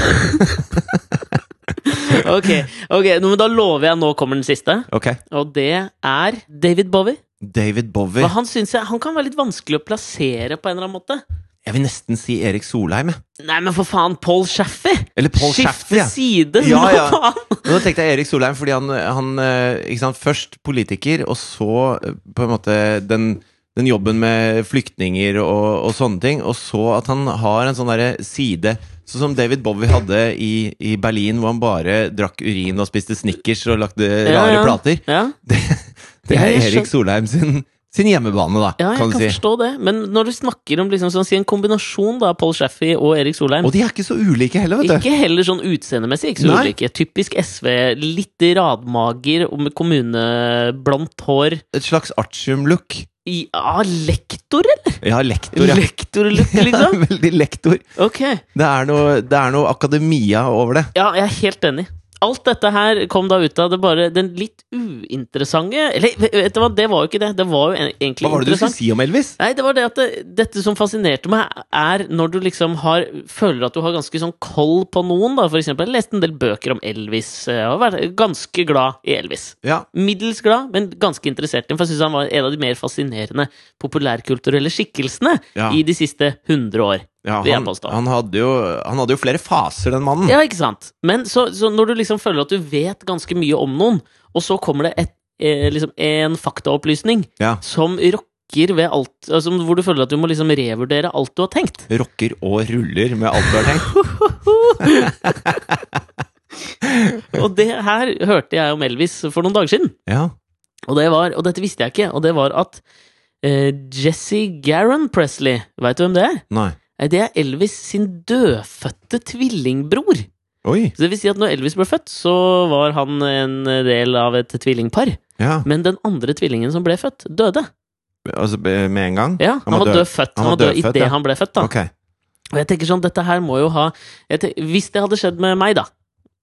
[SPEAKER 1] Kjekkelund. [LAUGHS] ok, ok, nå, men da lover jeg nå kommer den siste,
[SPEAKER 2] Ok.
[SPEAKER 1] og det er David Bowie.
[SPEAKER 2] David Bowie.
[SPEAKER 1] For han synes jeg Han kan være litt vanskelig å plassere på en eller annen måte.
[SPEAKER 2] Jeg vil nesten si Erik Solheim, jeg.
[SPEAKER 1] Nei, men for faen, Paul Shaffey!
[SPEAKER 2] Eller Paul Shafter,
[SPEAKER 1] Skifte
[SPEAKER 2] ja.
[SPEAKER 1] side,
[SPEAKER 2] Ja,
[SPEAKER 1] hva
[SPEAKER 2] ja.
[SPEAKER 1] faen?
[SPEAKER 2] Men da tenkte jeg Erik Solheim, fordi han, han eh, ikke sant, først politiker, og så eh, på en måte den, den jobben med flyktninger og, og sånne ting, og så at han har en sånn derre side Sånn som David Bowie hadde i, i Berlin, hvor han bare drakk urin og spiste Snickers og lagde rare
[SPEAKER 1] ja.
[SPEAKER 2] plater.
[SPEAKER 1] Ja,
[SPEAKER 2] Det, det
[SPEAKER 1] Ja,
[SPEAKER 2] er
[SPEAKER 1] jeg
[SPEAKER 2] Erik Solheim sin, sin hjemmebane, da,
[SPEAKER 1] ja jeg
[SPEAKER 2] kan
[SPEAKER 1] kan,
[SPEAKER 2] du si.
[SPEAKER 1] forstå det. Men når du snakker om liksom, sånn, si en kombinasjon da, Paul Shaffey og Erik Solheim
[SPEAKER 2] Og de er ikke så ulike heller, vet du.
[SPEAKER 1] Ikke heller sånn utseendemessig. ikke så
[SPEAKER 2] Nei.
[SPEAKER 1] ulike. Typisk SV. Litt radmager og med kommuneblondt hår.
[SPEAKER 2] Et slags artium-look.
[SPEAKER 1] I- Ja, lektor, eller?
[SPEAKER 2] Ja, lektor, [LAUGHS] ja.
[SPEAKER 1] Lektorlook, liksom?
[SPEAKER 2] Veldig lektor.
[SPEAKER 1] Ok.
[SPEAKER 2] Det er noe, det er noe akademia over det.
[SPEAKER 1] Ja, jeg er helt enig. Alt dette her kom da ut av det bare den litt uinteressante Eller vet du hva, det var jo ikke det. Det var jo egentlig interessant.
[SPEAKER 2] Hva var det du skulle si om Elvis?
[SPEAKER 1] Nei, det var det at det, dette som fascinerte meg, er når du liksom har føler at du har ganske sånn koll på noen, da. For eksempel, jeg leste en del bøker om Elvis, eh, og vært ganske glad i Elvis.
[SPEAKER 2] Ja,
[SPEAKER 1] Middels glad, men ganske interessert i ham, for jeg syns han var en av de mer fascinerende populærkulturelle skikkelsene
[SPEAKER 2] Ja.
[SPEAKER 1] i de siste 100 år.
[SPEAKER 2] ja
[SPEAKER 1] Vil jeg
[SPEAKER 2] han,
[SPEAKER 1] påstå.
[SPEAKER 2] han, hadde jo, han hadde jo flere faser, den mannen.
[SPEAKER 1] Ja, ikke sant? Men så, så når du liksom føler at du vet ganske mye om noen, og så kommer det et, eh, liksom en faktaopplysning
[SPEAKER 2] Ja.
[SPEAKER 1] som rokker ved alt altså, Hvor du føler at du må liksom revurdere alt du har tenkt.
[SPEAKER 2] Rocker og ruller med alt du har
[SPEAKER 1] [LAUGHS]
[SPEAKER 2] tenkt.
[SPEAKER 1] Og det her hørte jeg om Elvis for noen dager siden.
[SPEAKER 2] Ja.
[SPEAKER 1] Og, det var, og dette visste jeg ikke, og det var at eh, Jesse Garron Presley Veit du hvem det er?
[SPEAKER 2] Nei.
[SPEAKER 1] Nei, Eh, Det er Elvis sin dødfødte tvillingbror.
[SPEAKER 2] Oi.
[SPEAKER 1] Så det vil si at når Elvis ble født, så var han en del av et tvillingpar.
[SPEAKER 2] Ja.
[SPEAKER 1] Men den andre tvillingen som ble født, døde.
[SPEAKER 2] Altså, be- med en gang?
[SPEAKER 1] Ja, Han var død født. Han var død
[SPEAKER 2] dødfødt,
[SPEAKER 1] idet
[SPEAKER 2] ja.
[SPEAKER 1] han ble født, da.
[SPEAKER 2] Ok.
[SPEAKER 1] Og jeg tenker sånn, dette her må jo ha jeg tenker, Hvis det hadde skjedd med meg, da,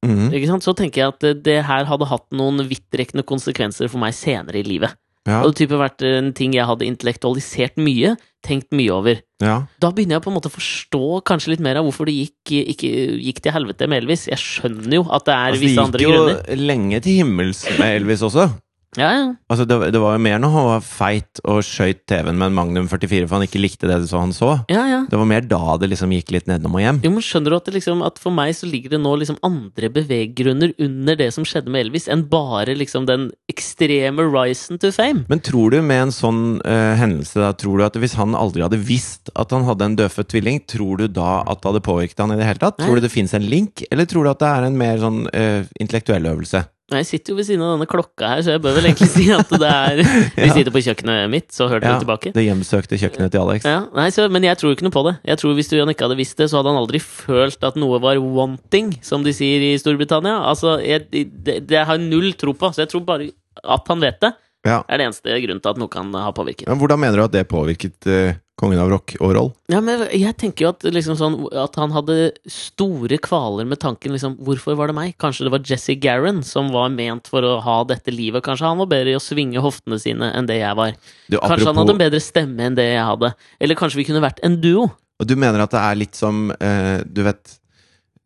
[SPEAKER 2] Mhm.
[SPEAKER 1] ikke sant? så tenker jeg at det- det her hadde hatt noen vidtrekkende konsekvenser for meg senere i livet.
[SPEAKER 2] Ja.
[SPEAKER 1] Det hadde type vært en ting jeg hadde intellektualisert mye, tenkt mye over.
[SPEAKER 2] ja.
[SPEAKER 1] Da begynner jeg på en måte å forstå kanskje litt mer av hvorfor det gikk, ikke, gikk til helvete med Elvis. Jeg skjønner jo at det er
[SPEAKER 2] Altså, det
[SPEAKER 1] visse andre
[SPEAKER 2] gikk jo
[SPEAKER 1] grunner.
[SPEAKER 2] lenge til himmels med Elvis også.
[SPEAKER 1] Ja, ja.
[SPEAKER 2] Altså, det, var- det var jo mer når han var feit og skøyt TV-en med en Magnum 44 for han ikke likte det så han så.
[SPEAKER 1] ja, ja.
[SPEAKER 2] Det var mer da det liksom gikk litt nedom og hjem.
[SPEAKER 1] Jo, men skjønner du at, det liksom, at for meg så ligger det nå liksom andre beveggrunner under det som skjedde med Elvis, enn bare liksom den ekstreme risen to fame?
[SPEAKER 2] Men tror du med en sånn eh, hendelse da, tror du at hvis han aldri hadde visst at han hadde en dødfødt tvilling, tror du da at det hadde påvirket han i det hele tatt?
[SPEAKER 1] Nei.
[SPEAKER 2] Tror du det finnes en link, eller tror du at det er en mer sånn eh, intellektuell øvelse?
[SPEAKER 1] Nei, Jeg sitter jo ved siden av denne klokka her, så jeg bør vel egentlig si at det er Vi
[SPEAKER 2] Ja.
[SPEAKER 1] sitter på kjøkkenet mitt, så hører dere tilbake.
[SPEAKER 2] det hjemsøkte kjøkkenet til Alex.
[SPEAKER 1] Ja, nei, så, Men jeg tror ikke noe på det. Jeg tror Hvis Jan ikke hadde visst det, så hadde han aldri følt at noe var wanting, som de sier i Storbritannia. Altså, jeg, det, det har jeg null tro på, så jeg tror bare at han vet det,
[SPEAKER 2] Ja.
[SPEAKER 1] er det eneste grunnen til at noe kan ha påvirket.
[SPEAKER 2] Men hvordan mener du at det påvirket eh, kongen av rock overall?
[SPEAKER 1] Ja, men jeg tenker jo at, liksom sånn, at han hadde store kvaler med tanken liksom, Hvorfor var det meg? Kanskje det var Jesse Garren som var ment for å ha dette livet? Kanskje han var bedre i å svinge hoftene sine enn det jeg var?
[SPEAKER 2] Du,
[SPEAKER 1] Kanskje han hadde en bedre stemme enn det jeg hadde? Eller kanskje vi kunne vært en duo?
[SPEAKER 2] Og du mener at det er litt som eh, Du vet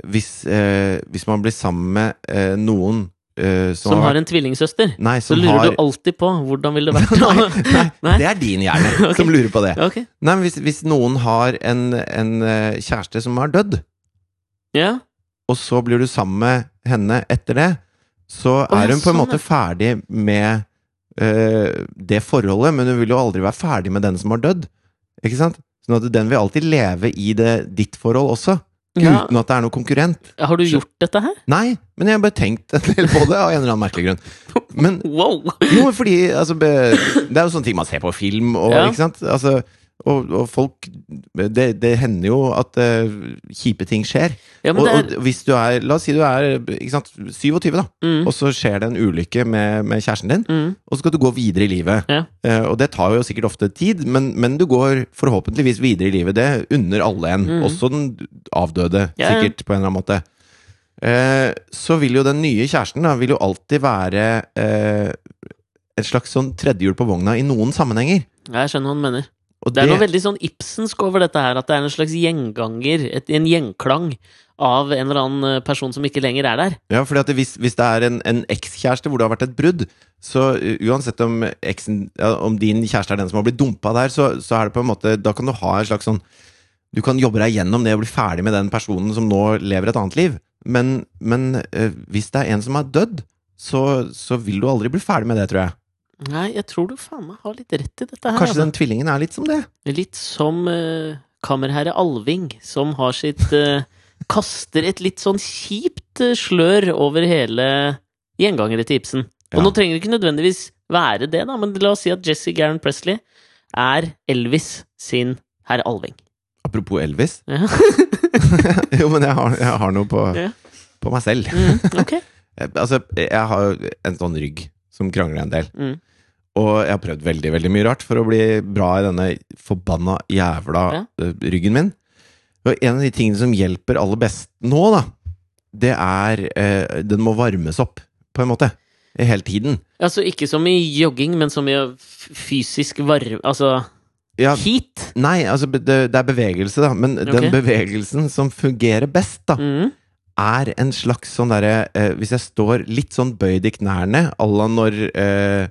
[SPEAKER 2] hvis, eh, hvis man blir sammen med eh, noen eh, som,
[SPEAKER 1] Som har
[SPEAKER 2] vært-
[SPEAKER 1] en tvillingsøster?
[SPEAKER 2] Nei,
[SPEAKER 1] Så
[SPEAKER 2] som
[SPEAKER 1] lurer
[SPEAKER 2] har
[SPEAKER 1] du alltid på hvordan ville det
[SPEAKER 2] [LAUGHS]
[SPEAKER 1] vært?
[SPEAKER 2] nei, nei,
[SPEAKER 1] Nei?
[SPEAKER 2] det er din hjerne
[SPEAKER 1] [LAUGHS] Ok.
[SPEAKER 2] som lurer på det.
[SPEAKER 1] Ja, ok.
[SPEAKER 2] Nei, men hvis, hvis noen har en, en eh, kjæreste som har dødd,
[SPEAKER 1] Ja.
[SPEAKER 2] og så blir du sammen med henne etter det, så
[SPEAKER 1] Å, ja,
[SPEAKER 2] er hun på en
[SPEAKER 1] sånn,
[SPEAKER 2] måte ferdig med eh, det forholdet, men hun vil jo aldri være ferdig med den som har dødd. Ikke sant? Sånn at den vil alltid leve i det, ditt forhold også,
[SPEAKER 1] ja.
[SPEAKER 2] uten at det er noe konkurrent.
[SPEAKER 1] Har du gjort dette her?
[SPEAKER 2] Nei, men jeg har bare tenkt en del på det av en eller annen merkelig grunn. Men
[SPEAKER 1] Wow!
[SPEAKER 2] jo, men fordi altså, be, Det er jo sånne ting man ser på film, og,
[SPEAKER 1] Ja.
[SPEAKER 2] ikke sant? Altså, og, og folk det, det hender jo at eh, kjipe ting skjer.
[SPEAKER 1] Ja, men
[SPEAKER 2] og,
[SPEAKER 1] det er,
[SPEAKER 2] og hvis du er La oss si du er ikke sant, 27, da.
[SPEAKER 1] mm,
[SPEAKER 2] Og så skjer det en ulykke med, med kjæresten din,
[SPEAKER 1] mm.
[SPEAKER 2] og så skal du gå videre i livet.
[SPEAKER 1] Ja.
[SPEAKER 2] Eh, og det tar jo sikkert ofte tid, men, men du går forhåpentligvis videre i livet. Det unner alle en,
[SPEAKER 1] Mhm.
[SPEAKER 2] også den avdøde,
[SPEAKER 1] Ja, ja.
[SPEAKER 2] sikkert, på en eller annen måte. Eh, så vil jo den nye kjæresten da, vil jo alltid være eh, et slags sånn tredjehjul på vogna i noen sammenhenger.
[SPEAKER 1] Ja, Jeg skjønner hva du mener.
[SPEAKER 2] Og
[SPEAKER 1] Det er noe veldig sånn Ibsensk over dette her, at det er en slags gjenganger, et, en gjenklang av en eller annen eh, person som ikke lenger er der.
[SPEAKER 2] Ja, fordi at hvis, hvis det er en, en ekskjæreste hvor det har vært et brudd, så uh, uansett om, eksen, ja, om din kjæreste er den som har blitt dumpa der, så, så er det på en måte Da kan du ha en slags sånn Du kan jobbe deg gjennom det og bli ferdig med den personen som nå lever et annet liv. Men, men uh, hvis det er en som er dødd, så, så vil du aldri bli ferdig med det, tror jeg.
[SPEAKER 1] Nei, jeg tror du faen meg har litt rett i dette her.
[SPEAKER 2] Kanskje
[SPEAKER 1] altså.
[SPEAKER 2] den tvillingen er litt som det.
[SPEAKER 1] Litt som eh, kammerherre Alving, som har sitt eh, Kaster et litt sånn kjipt eh, slør over hele gjengangere til Ibsen. Og
[SPEAKER 2] Ja.
[SPEAKER 1] nå trenger det ikke nødvendigvis være det, da, men la oss si at Jesse Garren Presley er Elvis sin herr Alving. [LAUGHS]
[SPEAKER 2] Apropos Elvis. [LAUGHS]
[SPEAKER 1] Ja.
[SPEAKER 2] jo, men jeg har, jeg har noe på,
[SPEAKER 1] Ja.
[SPEAKER 2] på meg selv.
[SPEAKER 1] Mm, ok.
[SPEAKER 2] Eh, Altså, jeg har jo en sånn rygg som krangler en del.
[SPEAKER 1] Mm.
[SPEAKER 2] Og jeg har prøvd veldig veldig mye rart for å bli bra i denne forbanna jævla eh, ryggen min. Og en av de tingene som hjelper aller best nå, da, det er eh, Den må varmes opp, på en måte. Hele tiden.
[SPEAKER 1] Altså ikke som i jogging, men som i å f- fysisk varme Altså
[SPEAKER 2] Ja,
[SPEAKER 1] heat.
[SPEAKER 2] nei, altså, be- det, det er bevegelse, da. Men den
[SPEAKER 1] Ok.
[SPEAKER 2] bevegelsen som fungerer best, da,
[SPEAKER 1] Mm.
[SPEAKER 2] er en slags sånn derre eh, Hvis jeg står litt sånn bøyd i knærne, à la når eh,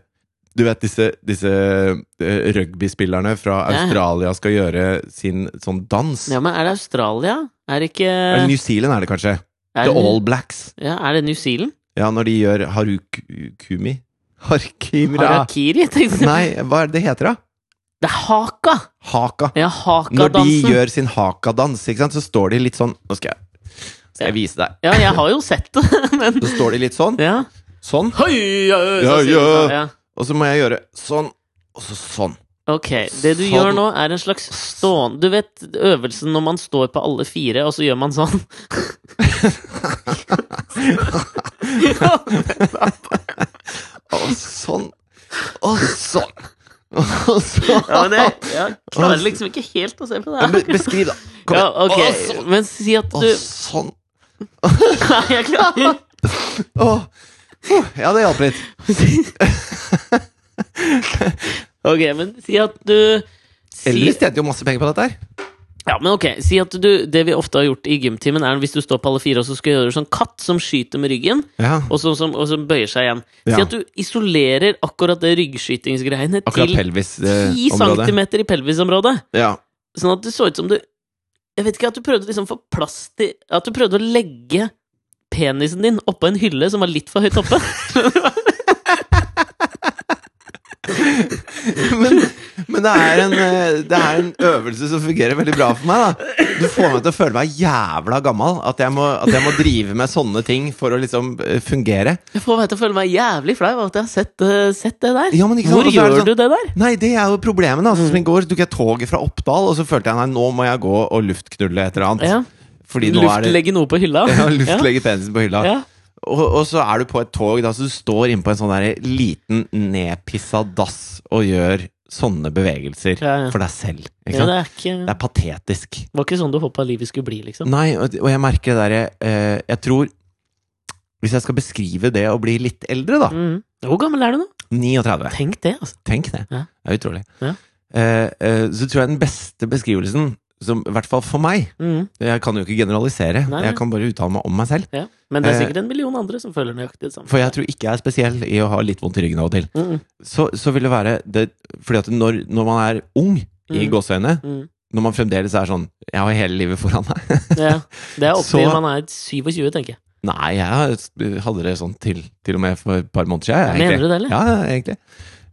[SPEAKER 2] Du vet disse, disse eh, rugbyspillerne fra
[SPEAKER 1] Ja.
[SPEAKER 2] Australia skal gjøre sin sånn dans?
[SPEAKER 1] Ja, men er det Australia? Er det ikke
[SPEAKER 2] Eller New Zealand er det kanskje.
[SPEAKER 1] er
[SPEAKER 2] The
[SPEAKER 1] det-
[SPEAKER 2] All Blacks.
[SPEAKER 1] ja, er det New Zealand?
[SPEAKER 2] Ja, når de gjør harukumi Harkimra
[SPEAKER 1] Harakiri, tenkte jeg.
[SPEAKER 2] Nei, hva er det det heter da?
[SPEAKER 1] Det er haka!
[SPEAKER 2] Haka.
[SPEAKER 1] Ja,
[SPEAKER 2] Når de
[SPEAKER 1] hakadansen.
[SPEAKER 2] gjør sin hakadans, ikke sant, så står de litt sånn Nå skal jeg, skal jeg vise deg.
[SPEAKER 1] Ja, jeg har jo sett det, [LAUGHS] men
[SPEAKER 2] Så står de litt sånn.
[SPEAKER 1] Ja.
[SPEAKER 2] Sånn.
[SPEAKER 1] Hei, ja,
[SPEAKER 2] Ja,
[SPEAKER 1] ja, så sier
[SPEAKER 2] ja.
[SPEAKER 1] du det, ja.
[SPEAKER 2] Og så må jeg gjøre sånn, og så sånn.
[SPEAKER 1] Ok, det du
[SPEAKER 2] Sånn.
[SPEAKER 1] gjør nå, er en slags stående Du vet øvelsen når man står på alle fire, og så gjør man sånn? [LAUGHS] ja,
[SPEAKER 2] Og sånn. Og sånn. Og sånn.
[SPEAKER 1] Ja, men jeg, jeg klarer liksom ikke helt å se på det
[SPEAKER 2] Men
[SPEAKER 1] her.
[SPEAKER 2] be- Beskriv, da. Kom
[SPEAKER 1] Ja,
[SPEAKER 2] igjen.
[SPEAKER 1] ok,
[SPEAKER 2] Og sånn.
[SPEAKER 1] men si at du
[SPEAKER 2] Og sånn.
[SPEAKER 1] Nei, jeg
[SPEAKER 2] [LAUGHS]
[SPEAKER 1] klarer
[SPEAKER 2] Å. Puh, Ja, det hjalp litt.
[SPEAKER 1] Ok, men si at du sier-
[SPEAKER 2] Elvis tjente jo masse penger på dette her.
[SPEAKER 1] Ja, men ok, si at du, Det vi ofte har gjort i gymtimen, er hvis du står på alle fire og så skal gjøre sånn katt som skyter med ryggen,
[SPEAKER 2] Ja.
[SPEAKER 1] og som, som, og som bøyer seg igjen. Si
[SPEAKER 2] Ja.
[SPEAKER 1] at du isolerer akkurat det ryggskytingsgreiene
[SPEAKER 2] Akkurat eh,
[SPEAKER 1] til ti
[SPEAKER 2] pelvis-området.
[SPEAKER 1] centimeter i pelvisområdet.
[SPEAKER 2] Ja.
[SPEAKER 1] Sånn at det så ut som du Jeg vet ikke, at du prøvde liksom å få plass til At du prøvde å legge penisen din oppå en hylle som var litt for høyt
[SPEAKER 2] [LAUGHS]
[SPEAKER 1] oppe.
[SPEAKER 2] Men, men det, er en, eh, det er en øvelse som fungerer veldig bra for meg. Da. Du får meg til å føle meg jævla gammel. At jeg, må, at jeg må drive med sånne ting for å liksom eh, fungere.
[SPEAKER 1] Jeg får meg til å føle meg jævlig flau av at jeg har sett, eh, sett det der.
[SPEAKER 2] Ja, men ikke sant,
[SPEAKER 1] Hvor
[SPEAKER 2] og så er
[SPEAKER 1] gjør
[SPEAKER 2] det sånn-
[SPEAKER 1] du det der?
[SPEAKER 2] Nei, det er jo problemet. da Sånn som
[SPEAKER 1] Mm.
[SPEAKER 2] I går tok jeg toget fra Oppdal, og så følte jeg nei, nå må jeg gå og luftknulle et eller annet.
[SPEAKER 1] Ja.
[SPEAKER 2] Fordi nå er det
[SPEAKER 1] Luftlegge noe på hylla?
[SPEAKER 2] [LAUGHS] ja, Luftlegge penisen på hylla.
[SPEAKER 1] Ja.
[SPEAKER 2] Og, og så er du på et tog, da, så du står inne på en sånn der liten nedpissa dass og gjør sånne bevegelser
[SPEAKER 1] Ja, ja.
[SPEAKER 2] for deg selv. Ikke
[SPEAKER 1] Ja,
[SPEAKER 2] sant?
[SPEAKER 1] det er ikke,
[SPEAKER 2] det er patetisk.
[SPEAKER 1] det var ikke sånn du håpa livet skulle bli, liksom.
[SPEAKER 2] Nei, og, og jeg merker det derre eh, Jeg tror Hvis jeg skal beskrive det å bli litt eldre, da
[SPEAKER 1] Mm. Hvor gammel er du nå?
[SPEAKER 2] 39.
[SPEAKER 1] Tenk det, altså.
[SPEAKER 2] Tenk det.
[SPEAKER 1] Ja.
[SPEAKER 2] Det er utrolig.
[SPEAKER 1] Ja.
[SPEAKER 2] Eh, eh, så tror jeg den beste beskrivelsen, som, i hvert fall for meg
[SPEAKER 1] Mm.
[SPEAKER 2] Jeg kan jo ikke generalisere,
[SPEAKER 1] Nei, nei.
[SPEAKER 2] jeg kan bare uttale meg om meg selv.
[SPEAKER 1] Ja. Men det er
[SPEAKER 2] Eh,
[SPEAKER 1] sikkert en million andre som føler nøyaktig det samme.
[SPEAKER 2] For jeg tror ikke jeg er spesiell i å ha litt vondt i ryggen av og til.
[SPEAKER 1] Mm.
[SPEAKER 2] så, så vil det være det, Fordi at når, når man er ung i
[SPEAKER 1] Mm.
[SPEAKER 2] gåseøyne,
[SPEAKER 1] Mm.
[SPEAKER 2] når man fremdeles er sånn Jeg har hele livet foran meg. [LAUGHS]
[SPEAKER 1] Ja. Det er opp til
[SPEAKER 2] Så-
[SPEAKER 1] man er 27, tenker jeg.
[SPEAKER 2] Nei, jeg har- hadde det sånn til, til og med for et par måneder siden. jeg,
[SPEAKER 1] Mener
[SPEAKER 2] egentlig.
[SPEAKER 1] du det, eller?
[SPEAKER 2] Ja, ja, egentlig.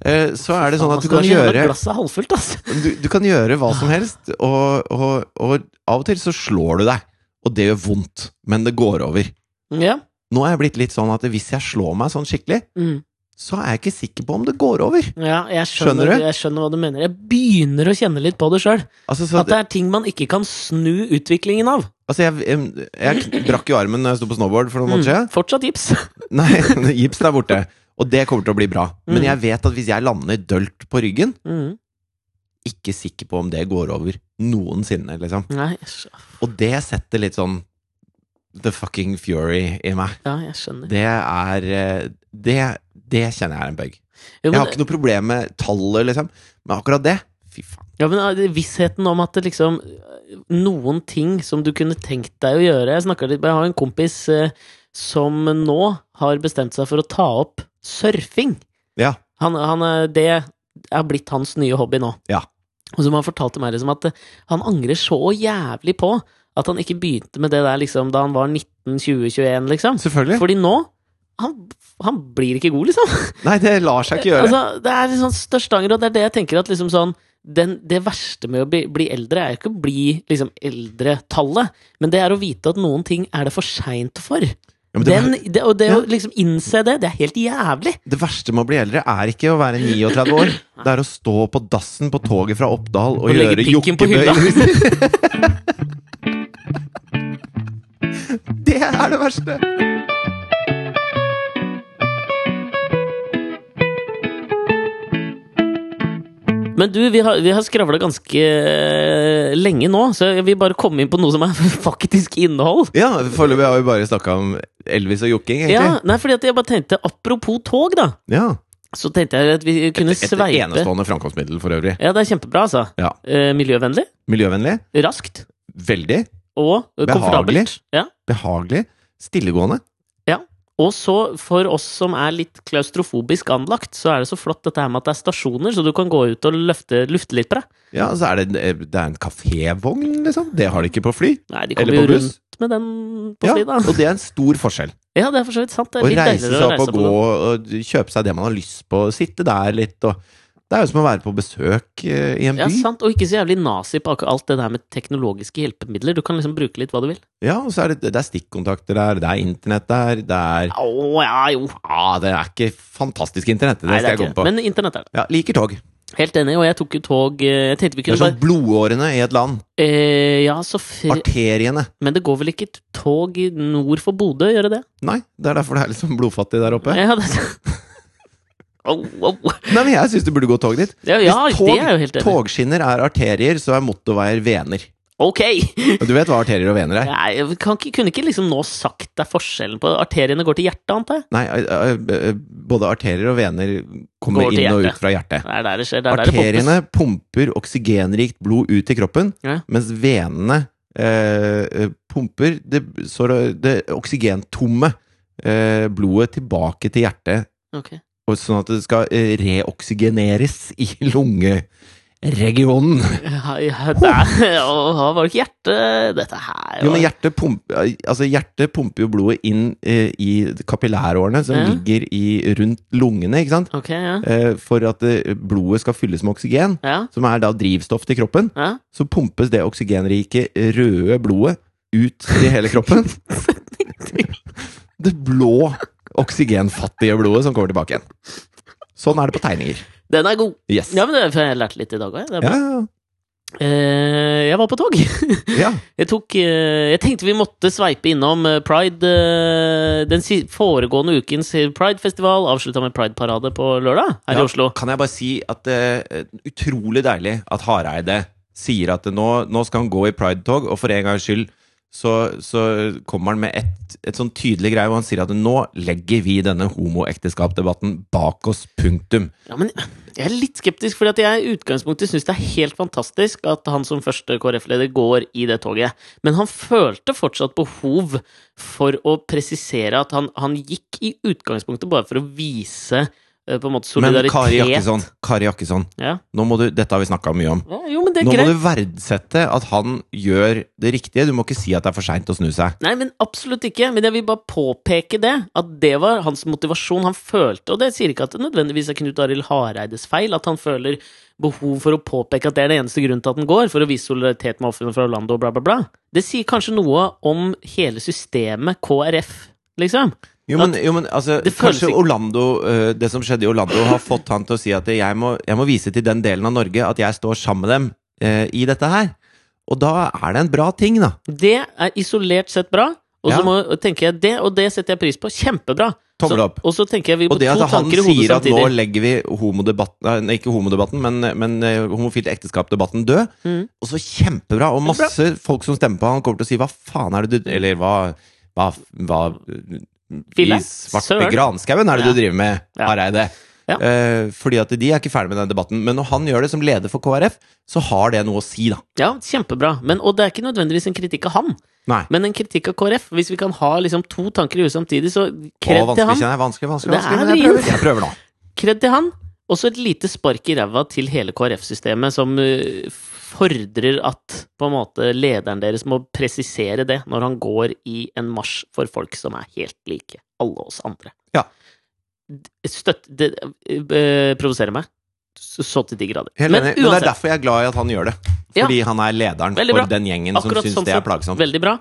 [SPEAKER 2] Eh, Så er det sånn
[SPEAKER 1] Man
[SPEAKER 2] at du
[SPEAKER 1] skal
[SPEAKER 2] kan
[SPEAKER 1] ikke holde
[SPEAKER 2] gjøre
[SPEAKER 1] Glasset halvfullt, altså.
[SPEAKER 2] du, du kan gjøre hva som helst, og, og, og av og til så slår du deg. Og det gjør vondt, men det går over.
[SPEAKER 1] Ja.
[SPEAKER 2] Nå er jeg blitt litt sånn at hvis jeg slår meg sånn skikkelig,
[SPEAKER 1] Mm.
[SPEAKER 2] så er jeg ikke sikker på om det går over.
[SPEAKER 1] ja jeg
[SPEAKER 2] Skjønner
[SPEAKER 1] skjønner,
[SPEAKER 2] du?
[SPEAKER 1] Jeg skjønner hva du mener. Jeg begynner å kjenne litt på det sjøl.
[SPEAKER 2] Altså, så
[SPEAKER 1] At det er ting man ikke kan snu utviklingen av.
[SPEAKER 2] altså jeg, jeg, jeg brakk jo armen når jeg sto på snowboard for noen måneder
[SPEAKER 1] [LAUGHS]
[SPEAKER 2] siden.
[SPEAKER 1] Mm. Fortsatt gips.
[SPEAKER 2] Nei, [LAUGHS] gipsen er borte. Og det kommer til å bli bra. Men
[SPEAKER 1] Mm.
[SPEAKER 2] jeg vet at hvis jeg lander dølt på ryggen,
[SPEAKER 1] Mm.
[SPEAKER 2] ikke sikker på om det går over noensinne, liksom.
[SPEAKER 1] Nei, jeg skj-
[SPEAKER 2] Og det setter litt sånn the fucking fury i meg.
[SPEAKER 1] ja, jeg skjønner.
[SPEAKER 2] Det er eh, Det, det kjenner jeg er en bug.
[SPEAKER 1] Jo,
[SPEAKER 2] Jeg
[SPEAKER 1] men,
[SPEAKER 2] har ikke noe problem med tallet, liksom. Men akkurat det Fy faen.
[SPEAKER 1] ja, men eh, vissheten om at det liksom eh, Noen ting som du kunne tenkt deg å gjøre Jeg snakker litt Jeg har en kompis eh, som nå har bestemt seg for å ta opp surfing.
[SPEAKER 2] Ja.
[SPEAKER 1] Han, han, er- det er blitt hans nye hobby nå.
[SPEAKER 2] Ja.
[SPEAKER 1] Og som han fortalte meg liksom at eh, han angrer så jævlig på at han ikke begynte med det der liksom da han var 19-20-21, liksom.
[SPEAKER 2] Selvfølgelig.
[SPEAKER 1] Fordi nå han, han blir ikke god, liksom.
[SPEAKER 2] Nei, det lar seg ikke gjøre.
[SPEAKER 1] Altså, det er liksom største anger, og det er det jeg tenker at liksom sånn den, Det verste med å bli, bli eldre er jo ikke å bli liksom eldretallet, men det er å vite at noen ting er det for seint for.
[SPEAKER 2] Ja, men det,
[SPEAKER 1] Den, det, og det
[SPEAKER 2] Ja.
[SPEAKER 1] å liksom innse det, det er helt jævlig.
[SPEAKER 2] det verste med å bli eldre er ikke å være 39 år. Det er å stå på dassen på toget fra Oppdal og,
[SPEAKER 1] Og legge
[SPEAKER 2] gjøre
[SPEAKER 1] pikken på hylla.
[SPEAKER 2] jokkebøy. [LAUGHS] det er det verste!
[SPEAKER 1] [LAUGHS] Men du, vi har, vi har skravla ganske eh, lenge nå, så jeg vil bare komme inn på noe som er [LAUGHS] faktisk innhold.
[SPEAKER 2] Ja, Foreløpig har vi bare snakka om Elvis og jokking,
[SPEAKER 1] Ja,
[SPEAKER 2] egentlig.
[SPEAKER 1] nei, fordi at jeg bare tenkte Apropos tog, da.
[SPEAKER 2] Ja.
[SPEAKER 1] Så tenkte jeg at vi kunne
[SPEAKER 2] Et
[SPEAKER 1] sveipe
[SPEAKER 2] enestående framkomstmiddel for øvrig.
[SPEAKER 1] Ja, det er kjempebra, altså.
[SPEAKER 2] Ja.
[SPEAKER 1] Eh, miljøvennlig,
[SPEAKER 2] Miljøvennlig.
[SPEAKER 1] raskt
[SPEAKER 2] Veldig.
[SPEAKER 1] og eh, komfortabelt.
[SPEAKER 2] Behagelig.
[SPEAKER 1] Ja.
[SPEAKER 2] Behagelig. Stillegående.
[SPEAKER 1] Og så, for oss som er litt klaustrofobisk anlagt, så er det så flott dette her med at det er stasjoner, så du kan gå ut og løfte, lufte litt på deg.
[SPEAKER 2] Ja, så er det, eh, det er en kafévogn, liksom. Det har de ikke på fly.
[SPEAKER 1] Nei, de
[SPEAKER 2] Eller
[SPEAKER 1] kommer jo
[SPEAKER 2] på buss.
[SPEAKER 1] rundt med den på
[SPEAKER 2] Ja,
[SPEAKER 1] fly, da.
[SPEAKER 2] og det er en stor forskjell.
[SPEAKER 1] Ja, det er for så vidt sant. Det
[SPEAKER 2] Å
[SPEAKER 1] er litt
[SPEAKER 2] reise
[SPEAKER 1] deiligere
[SPEAKER 2] seg
[SPEAKER 1] å
[SPEAKER 2] opp
[SPEAKER 1] reise
[SPEAKER 2] og
[SPEAKER 1] på
[SPEAKER 2] gå
[SPEAKER 1] den.
[SPEAKER 2] og kjøpe seg det man har lyst på, sitte der litt og Det er jo som å være på besøk eh, i en by.
[SPEAKER 1] Ja, sant. Og ikke så jævlig nazi på akkurat alt det der med teknologiske hjelpemidler. Du kan liksom bruke litt hva du vil.
[SPEAKER 2] Ja, og så er det, det er stikkontakter der, det er internett der, det er
[SPEAKER 1] Å, ja, jo.
[SPEAKER 2] Ja, det er ikke fantastisk internett, det
[SPEAKER 1] Nei,
[SPEAKER 2] skal jeg
[SPEAKER 1] ikke
[SPEAKER 2] komme på.
[SPEAKER 1] Men internett er det.
[SPEAKER 2] ja, liker tog.
[SPEAKER 1] Helt enig, og jeg tok jo tog eh, Jeg tenkte vi
[SPEAKER 2] Det er
[SPEAKER 1] kunne
[SPEAKER 2] sånn
[SPEAKER 1] bare
[SPEAKER 2] blodårene i et land.
[SPEAKER 1] eh, Ja, så fri...
[SPEAKER 2] Arteriene.
[SPEAKER 1] Men det går vel ikke tog i nord for Bodø, gjør det det?
[SPEAKER 2] Nei, det er derfor det er liksom blodfattig der oppe.
[SPEAKER 1] Ja, det...
[SPEAKER 2] [LAUGHS]
[SPEAKER 1] Au, au.
[SPEAKER 2] Nei, men jeg syns du burde gå tog dit.
[SPEAKER 1] Ja, ja
[SPEAKER 2] Hvis tog-
[SPEAKER 1] det er jeg jo helt enig. i.
[SPEAKER 2] Togskinner er arterier, så er motorveier vener.
[SPEAKER 1] Å Ok!
[SPEAKER 2] Og du vet hva arterier og vener er?
[SPEAKER 1] Nei, jeg kan ikke, kunne ikke liksom nå sagt deg forskjellen på Arteriene går til hjertet, antar jeg?
[SPEAKER 2] Nei, ø- ø- ø- både arterier og vener kommer
[SPEAKER 1] Går til
[SPEAKER 2] inn og
[SPEAKER 1] hjertet.
[SPEAKER 2] ut fra hjertet.
[SPEAKER 1] Det er der det skjer. Det er der det
[SPEAKER 2] Arteriene pumper oksygenrikt blod ut i kroppen,
[SPEAKER 1] Ja.
[SPEAKER 2] mens venene eh, pumper det, så det- det oksygentomme eh, blodet tilbake til hjertet,
[SPEAKER 1] pumpes. Ok.
[SPEAKER 2] og sånn at det skal eh, reoksygeneres i [LAUGHS] lungeregionen.
[SPEAKER 1] Ja, [LAUGHS] ja, det er, å, var det ikke hjertet Dette her
[SPEAKER 2] Jo, men hjertet, pump, altså hjertet pumper jo blodet inn eh, i kapillærårene som
[SPEAKER 1] Ja.
[SPEAKER 2] ligger i, rundt lungene, ikke sant?
[SPEAKER 1] Ok, ja.
[SPEAKER 2] Eh, for at eh, blodet skal fylles med oksygen,
[SPEAKER 1] Ja,
[SPEAKER 2] som er da drivstoff til kroppen.
[SPEAKER 1] ja.
[SPEAKER 2] så pumpes det oksygenrike røde blodet ut i hele kroppen. Det blå, oksygenfattige blodet som kommer tilbake igjen. Sånn er det på tegninger.
[SPEAKER 1] Den er god.
[SPEAKER 2] Yes.
[SPEAKER 1] Ja, men det, for Jeg lærte litt i dag òg.
[SPEAKER 2] Ja,
[SPEAKER 1] Eh, jeg var på tog.
[SPEAKER 2] ja, ja.
[SPEAKER 1] Jeg, tok, eh, jeg tenkte vi måtte sveipe innom eh, Pride eh, Den si foregående ukens eh, Pride-festival avslutta med Pride-parade på lørdag her
[SPEAKER 2] Ja.
[SPEAKER 1] i Oslo.
[SPEAKER 2] Kan jeg bare si at det er utrolig deilig at Hareide sier at nå, nå skal han gå i pridetog, og for en gangs skyld så, så kommer han med et, et sånn tydelig greie, og han sier at nå legger vi denne homoekteskapsdebatten bak oss, punktum.
[SPEAKER 1] Ja, men jeg er litt skeptisk, fordi at jeg i utgangspunktet syns det er helt fantastisk at han som første KrF-leder går i det toget. Men han følte fortsatt behov for å presisere at han, han gikk i utgangspunktet bare for å vise eh, på en måte
[SPEAKER 2] Men
[SPEAKER 1] solidaritet.
[SPEAKER 2] Kari Jakkesson, Kari Jakkesson
[SPEAKER 1] Ja.
[SPEAKER 2] nå må du, dette har vi snakka mye om.
[SPEAKER 1] Ja, jo, men det
[SPEAKER 2] Nå
[SPEAKER 1] er
[SPEAKER 2] må
[SPEAKER 1] greit.
[SPEAKER 2] du verdsette at han gjør det riktige. Du må ikke si at det er for seint å snu seg.
[SPEAKER 1] Nei, men absolutt ikke. Men jeg vil bare påpeke det. At det var hans motivasjon. Han følte, og det sier ikke at det nødvendigvis er Knut Arild Hareides feil, at han føler behov for å påpeke at det er den eneste grunnen til at den går, for å vise solidaritet med ofrene fra Orlando og bla, bla, bla. Det sier kanskje noe om hele systemet KrF, liksom.
[SPEAKER 2] Jo, men, jo, men altså,
[SPEAKER 1] Det føles
[SPEAKER 2] kanskje
[SPEAKER 1] ikke-
[SPEAKER 2] Orlando, eh, det som skjedde i Orlando, har fått han til å si at jeg må, jeg må vise til den delen av Norge at jeg står sammen med dem eh, i dette her. Og da er det en bra ting, da.
[SPEAKER 1] Det er isolert sett bra, og så
[SPEAKER 2] Ja.
[SPEAKER 1] må, tenker jeg det, og det setter jeg pris på. Kjempebra.
[SPEAKER 2] Tommel
[SPEAKER 1] Så-
[SPEAKER 2] opp.
[SPEAKER 1] Og så tenker jeg vi på
[SPEAKER 2] Og det
[SPEAKER 1] to
[SPEAKER 2] at han
[SPEAKER 1] tanker i hodet
[SPEAKER 2] sier at nå
[SPEAKER 1] samtidig.
[SPEAKER 2] legger vi homodebatten Nei, ikke homodebatten, men, men eh, homofilt ekteskap-debatten død.
[SPEAKER 1] Mhm.
[SPEAKER 2] Og så kjempebra! Og masse folk som stemmer på han, kommer til å si 'hva faen er det du Eller hva, hva, hva
[SPEAKER 1] Fille?
[SPEAKER 2] I svarte
[SPEAKER 1] Søren.
[SPEAKER 2] granskauen er det du
[SPEAKER 1] Ja.
[SPEAKER 2] driver med,
[SPEAKER 1] Ja.
[SPEAKER 2] Hareide.
[SPEAKER 1] Ja.
[SPEAKER 2] Eh, fordi at de er ikke ferdig med den debatten. Men når han gjør det som leder for KrF, så har det noe å si, da.
[SPEAKER 1] Ja, kjempebra. Men, og det er ikke nødvendigvis en kritikk av han.
[SPEAKER 2] Nei.
[SPEAKER 1] Men en kritikk av KrF, hvis vi kan ha liksom to tanker i huet samtidig, så
[SPEAKER 2] Å,
[SPEAKER 1] kred til
[SPEAKER 2] vanskelig,
[SPEAKER 1] han.
[SPEAKER 2] kjenner jeg. Vanskelig, vanskelig.
[SPEAKER 1] Det
[SPEAKER 2] vanskelig
[SPEAKER 1] er
[SPEAKER 2] men jeg
[SPEAKER 1] vrient.
[SPEAKER 2] prøver, jeg prøver nå.
[SPEAKER 1] Kred til han, og så et lite spark i ræva til hele KrF-systemet, som eh, fordrer at på en måte lederen deres må presisere det når han går i en marsj for folk som er helt like alle oss andre.
[SPEAKER 2] Ja.
[SPEAKER 1] D- Støtt det, eh, Provoserer meg. Så så til de grader.
[SPEAKER 2] Helt
[SPEAKER 1] Men
[SPEAKER 2] enig. Men det er
[SPEAKER 1] uansett,
[SPEAKER 2] derfor jeg er glad i at han gjør det.
[SPEAKER 1] Ja.
[SPEAKER 2] Fordi han er lederen
[SPEAKER 1] Veldig bra.
[SPEAKER 2] for den gjengen
[SPEAKER 1] Akkurat
[SPEAKER 2] som syns
[SPEAKER 1] sånn
[SPEAKER 2] det
[SPEAKER 1] sett.
[SPEAKER 2] er plagsomt.
[SPEAKER 1] veldig bra.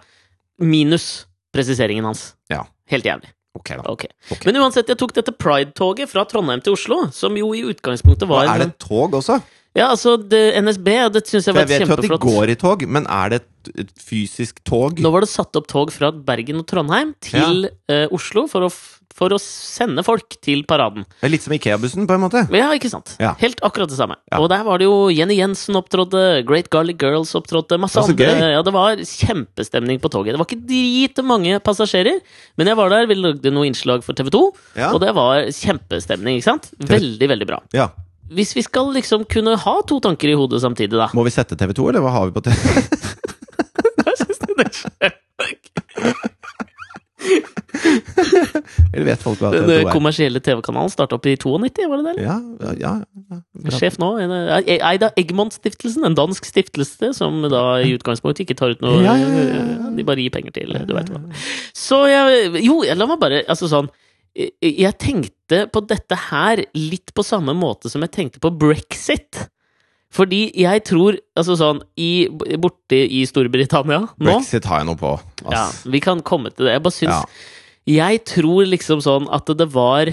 [SPEAKER 1] Minus presiseringen hans.
[SPEAKER 2] Ja.
[SPEAKER 1] Helt jævlig.
[SPEAKER 2] Ok, da.
[SPEAKER 1] Ok.
[SPEAKER 2] Ok.
[SPEAKER 1] Men uansett, jeg tok dette Pride-toget fra Trondheim til Oslo, som jo i utgangspunktet var
[SPEAKER 2] Og er det et tog også?
[SPEAKER 1] Ja, altså det, NSB, og det syns
[SPEAKER 2] For
[SPEAKER 1] jeg var
[SPEAKER 2] jeg vet jo at de
[SPEAKER 1] kjempeflott.
[SPEAKER 2] går i tog, men er det et, et fysisk tog?
[SPEAKER 1] Nå var det satt opp tog fra Bergen og Trondheim til eh, Oslo for å, f- for å sende folk til paraden.
[SPEAKER 2] Det er litt som Ikea-bussen, på en måte.
[SPEAKER 1] Ja, ikke sant?
[SPEAKER 2] Ja.
[SPEAKER 1] Helt akkurat det samme.
[SPEAKER 2] Ja.
[SPEAKER 1] Og der var det jo Jenny Jensen opptrådte, Great Garlic Girls opptrådte, masse
[SPEAKER 2] Ja, så
[SPEAKER 1] andre.
[SPEAKER 2] gøy.
[SPEAKER 1] Ja, det var kjempestemning på toget. Det var ikke dritmange passasjerer, men jeg var der, vi lagde noe innslag for TV 2,
[SPEAKER 2] Ja.
[SPEAKER 1] og det var kjempestemning, ikke sant? Veldig, veldig bra.
[SPEAKER 2] Ja.
[SPEAKER 1] Hvis vi skal liksom kunne ha to tanker i hodet samtidig, da
[SPEAKER 2] Må vi sette TV 2, eller hva har vi
[SPEAKER 1] [LAUGHS]
[SPEAKER 2] på TV?
[SPEAKER 1] Hva synes du det er?
[SPEAKER 2] Eller vet folk hva TV
[SPEAKER 1] Den
[SPEAKER 2] 2
[SPEAKER 1] eh,
[SPEAKER 2] er?
[SPEAKER 1] kommersielle TV-kanalen starta opp i 92, var det det? eller?
[SPEAKER 2] Ja, ja, ja, ja. Bra.
[SPEAKER 1] Sjef nå, en, eh, eid av Eggmont-stiftelsen, en dansk stiftelse som da i utgangspunktet ikke tar ut noe eh,
[SPEAKER 2] Ja, ja, ja, ja, ja.
[SPEAKER 1] De bare gir penger til, du veit hva. Så jeg Jo, la meg bare Altså sånn eh, Jeg tenkte på dette her litt på samme måte som jeg tenkte på brexit. Fordi jeg tror Altså sånn i, Borte i Storbritannia nå
[SPEAKER 2] Brexit har jeg noe på.
[SPEAKER 1] ja,
[SPEAKER 2] Ass.
[SPEAKER 1] Vi kan komme til det. Jeg bare syns
[SPEAKER 2] Ja.
[SPEAKER 1] Jeg tror liksom sånn at det var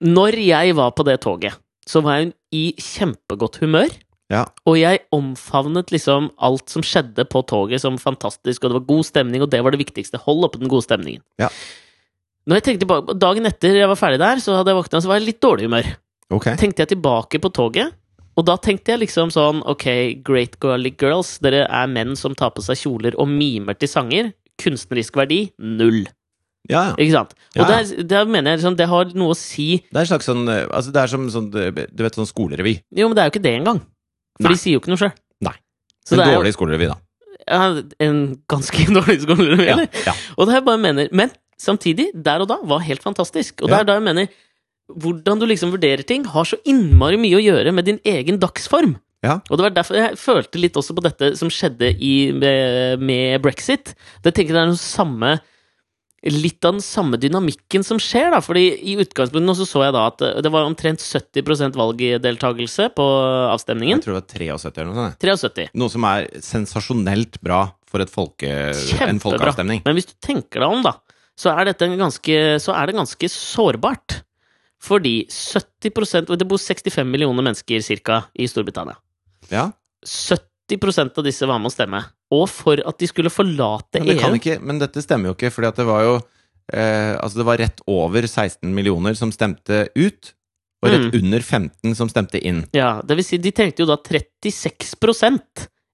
[SPEAKER 1] Når jeg var på det toget, så var jeg i kjempegodt humør.
[SPEAKER 2] Ja.
[SPEAKER 1] Og jeg omfavnet liksom alt som skjedde på toget som fantastisk, og det var god stemning, og det var det viktigste. Hold oppe den gode stemningen.
[SPEAKER 2] Ja.
[SPEAKER 1] Når jeg tenkte tilbake, Dagen etter jeg var ferdig der, så hadde jeg våkna, så var jeg i litt dårlig humør.
[SPEAKER 2] Ok.
[SPEAKER 1] Tenkte jeg tilbake på toget, Og da tenkte jeg liksom sånn Ok, Great Girly Girls, dere er menn som tar på seg kjoler og mimer til sanger. Kunstnerisk verdi null.
[SPEAKER 2] Ja, ja.
[SPEAKER 1] Ikke sant? Og
[SPEAKER 2] Ja, ja.
[SPEAKER 1] der, der mener jeg liksom, det har noe å si
[SPEAKER 2] Det er en slags sånn eh, Altså, det er som sånn eh, Du vet, sånn skolerevy.
[SPEAKER 1] Jo, men det er jo ikke det engang. For
[SPEAKER 2] Nei.
[SPEAKER 1] de sier jo ikke noe sjøl.
[SPEAKER 2] Nei.
[SPEAKER 1] Så
[SPEAKER 2] en
[SPEAKER 1] det er jo
[SPEAKER 2] dårlig skolerevy, da.
[SPEAKER 1] ja, en ganske [LAUGHS] dårlig skole.
[SPEAKER 2] Ja,
[SPEAKER 1] eller?
[SPEAKER 2] ja.
[SPEAKER 1] Og det her bare mener Men samtidig, der og da, var helt fantastisk. Og det
[SPEAKER 2] Ja.
[SPEAKER 1] er da jeg mener hvordan du liksom vurderer ting, har så innmari mye å gjøre med din egen dagsform.
[SPEAKER 2] Ja.
[SPEAKER 1] Og det var derfor jeg følte litt også på dette som skjedde i, med, med brexit. Det tenker jeg det er den samme Litt av den samme dynamikken som skjer, da. Fordi i utgangspunktet nå så, så jeg da at det var omtrent 70 valgdeltakelse på avstemningen.
[SPEAKER 2] Jeg tror det var 73 eller noe sånt.
[SPEAKER 1] 73.
[SPEAKER 2] Noe som er sensasjonelt bra for et folke, eh, en
[SPEAKER 1] Kjempebra.
[SPEAKER 2] folkeavstemning.
[SPEAKER 1] Men hvis du tenker deg om, da, så er, dette en ganske, så er det ganske sårbart. Fordi 70 og Det bor 65 millioner mennesker ca. i Storbritannia.
[SPEAKER 2] Ja.
[SPEAKER 1] 70 av disse var med å stemme. Og for at de skulle forlate E
[SPEAKER 2] Men, det kan
[SPEAKER 1] EU
[SPEAKER 2] ikke, men dette stemmer jo ikke, fordi at det var jo eh, Altså, det var rett over 16 millioner som stemte ut, og rett
[SPEAKER 1] Mm.
[SPEAKER 2] under 15 som stemte inn.
[SPEAKER 1] ja, Det vil si, de trengte jo da 36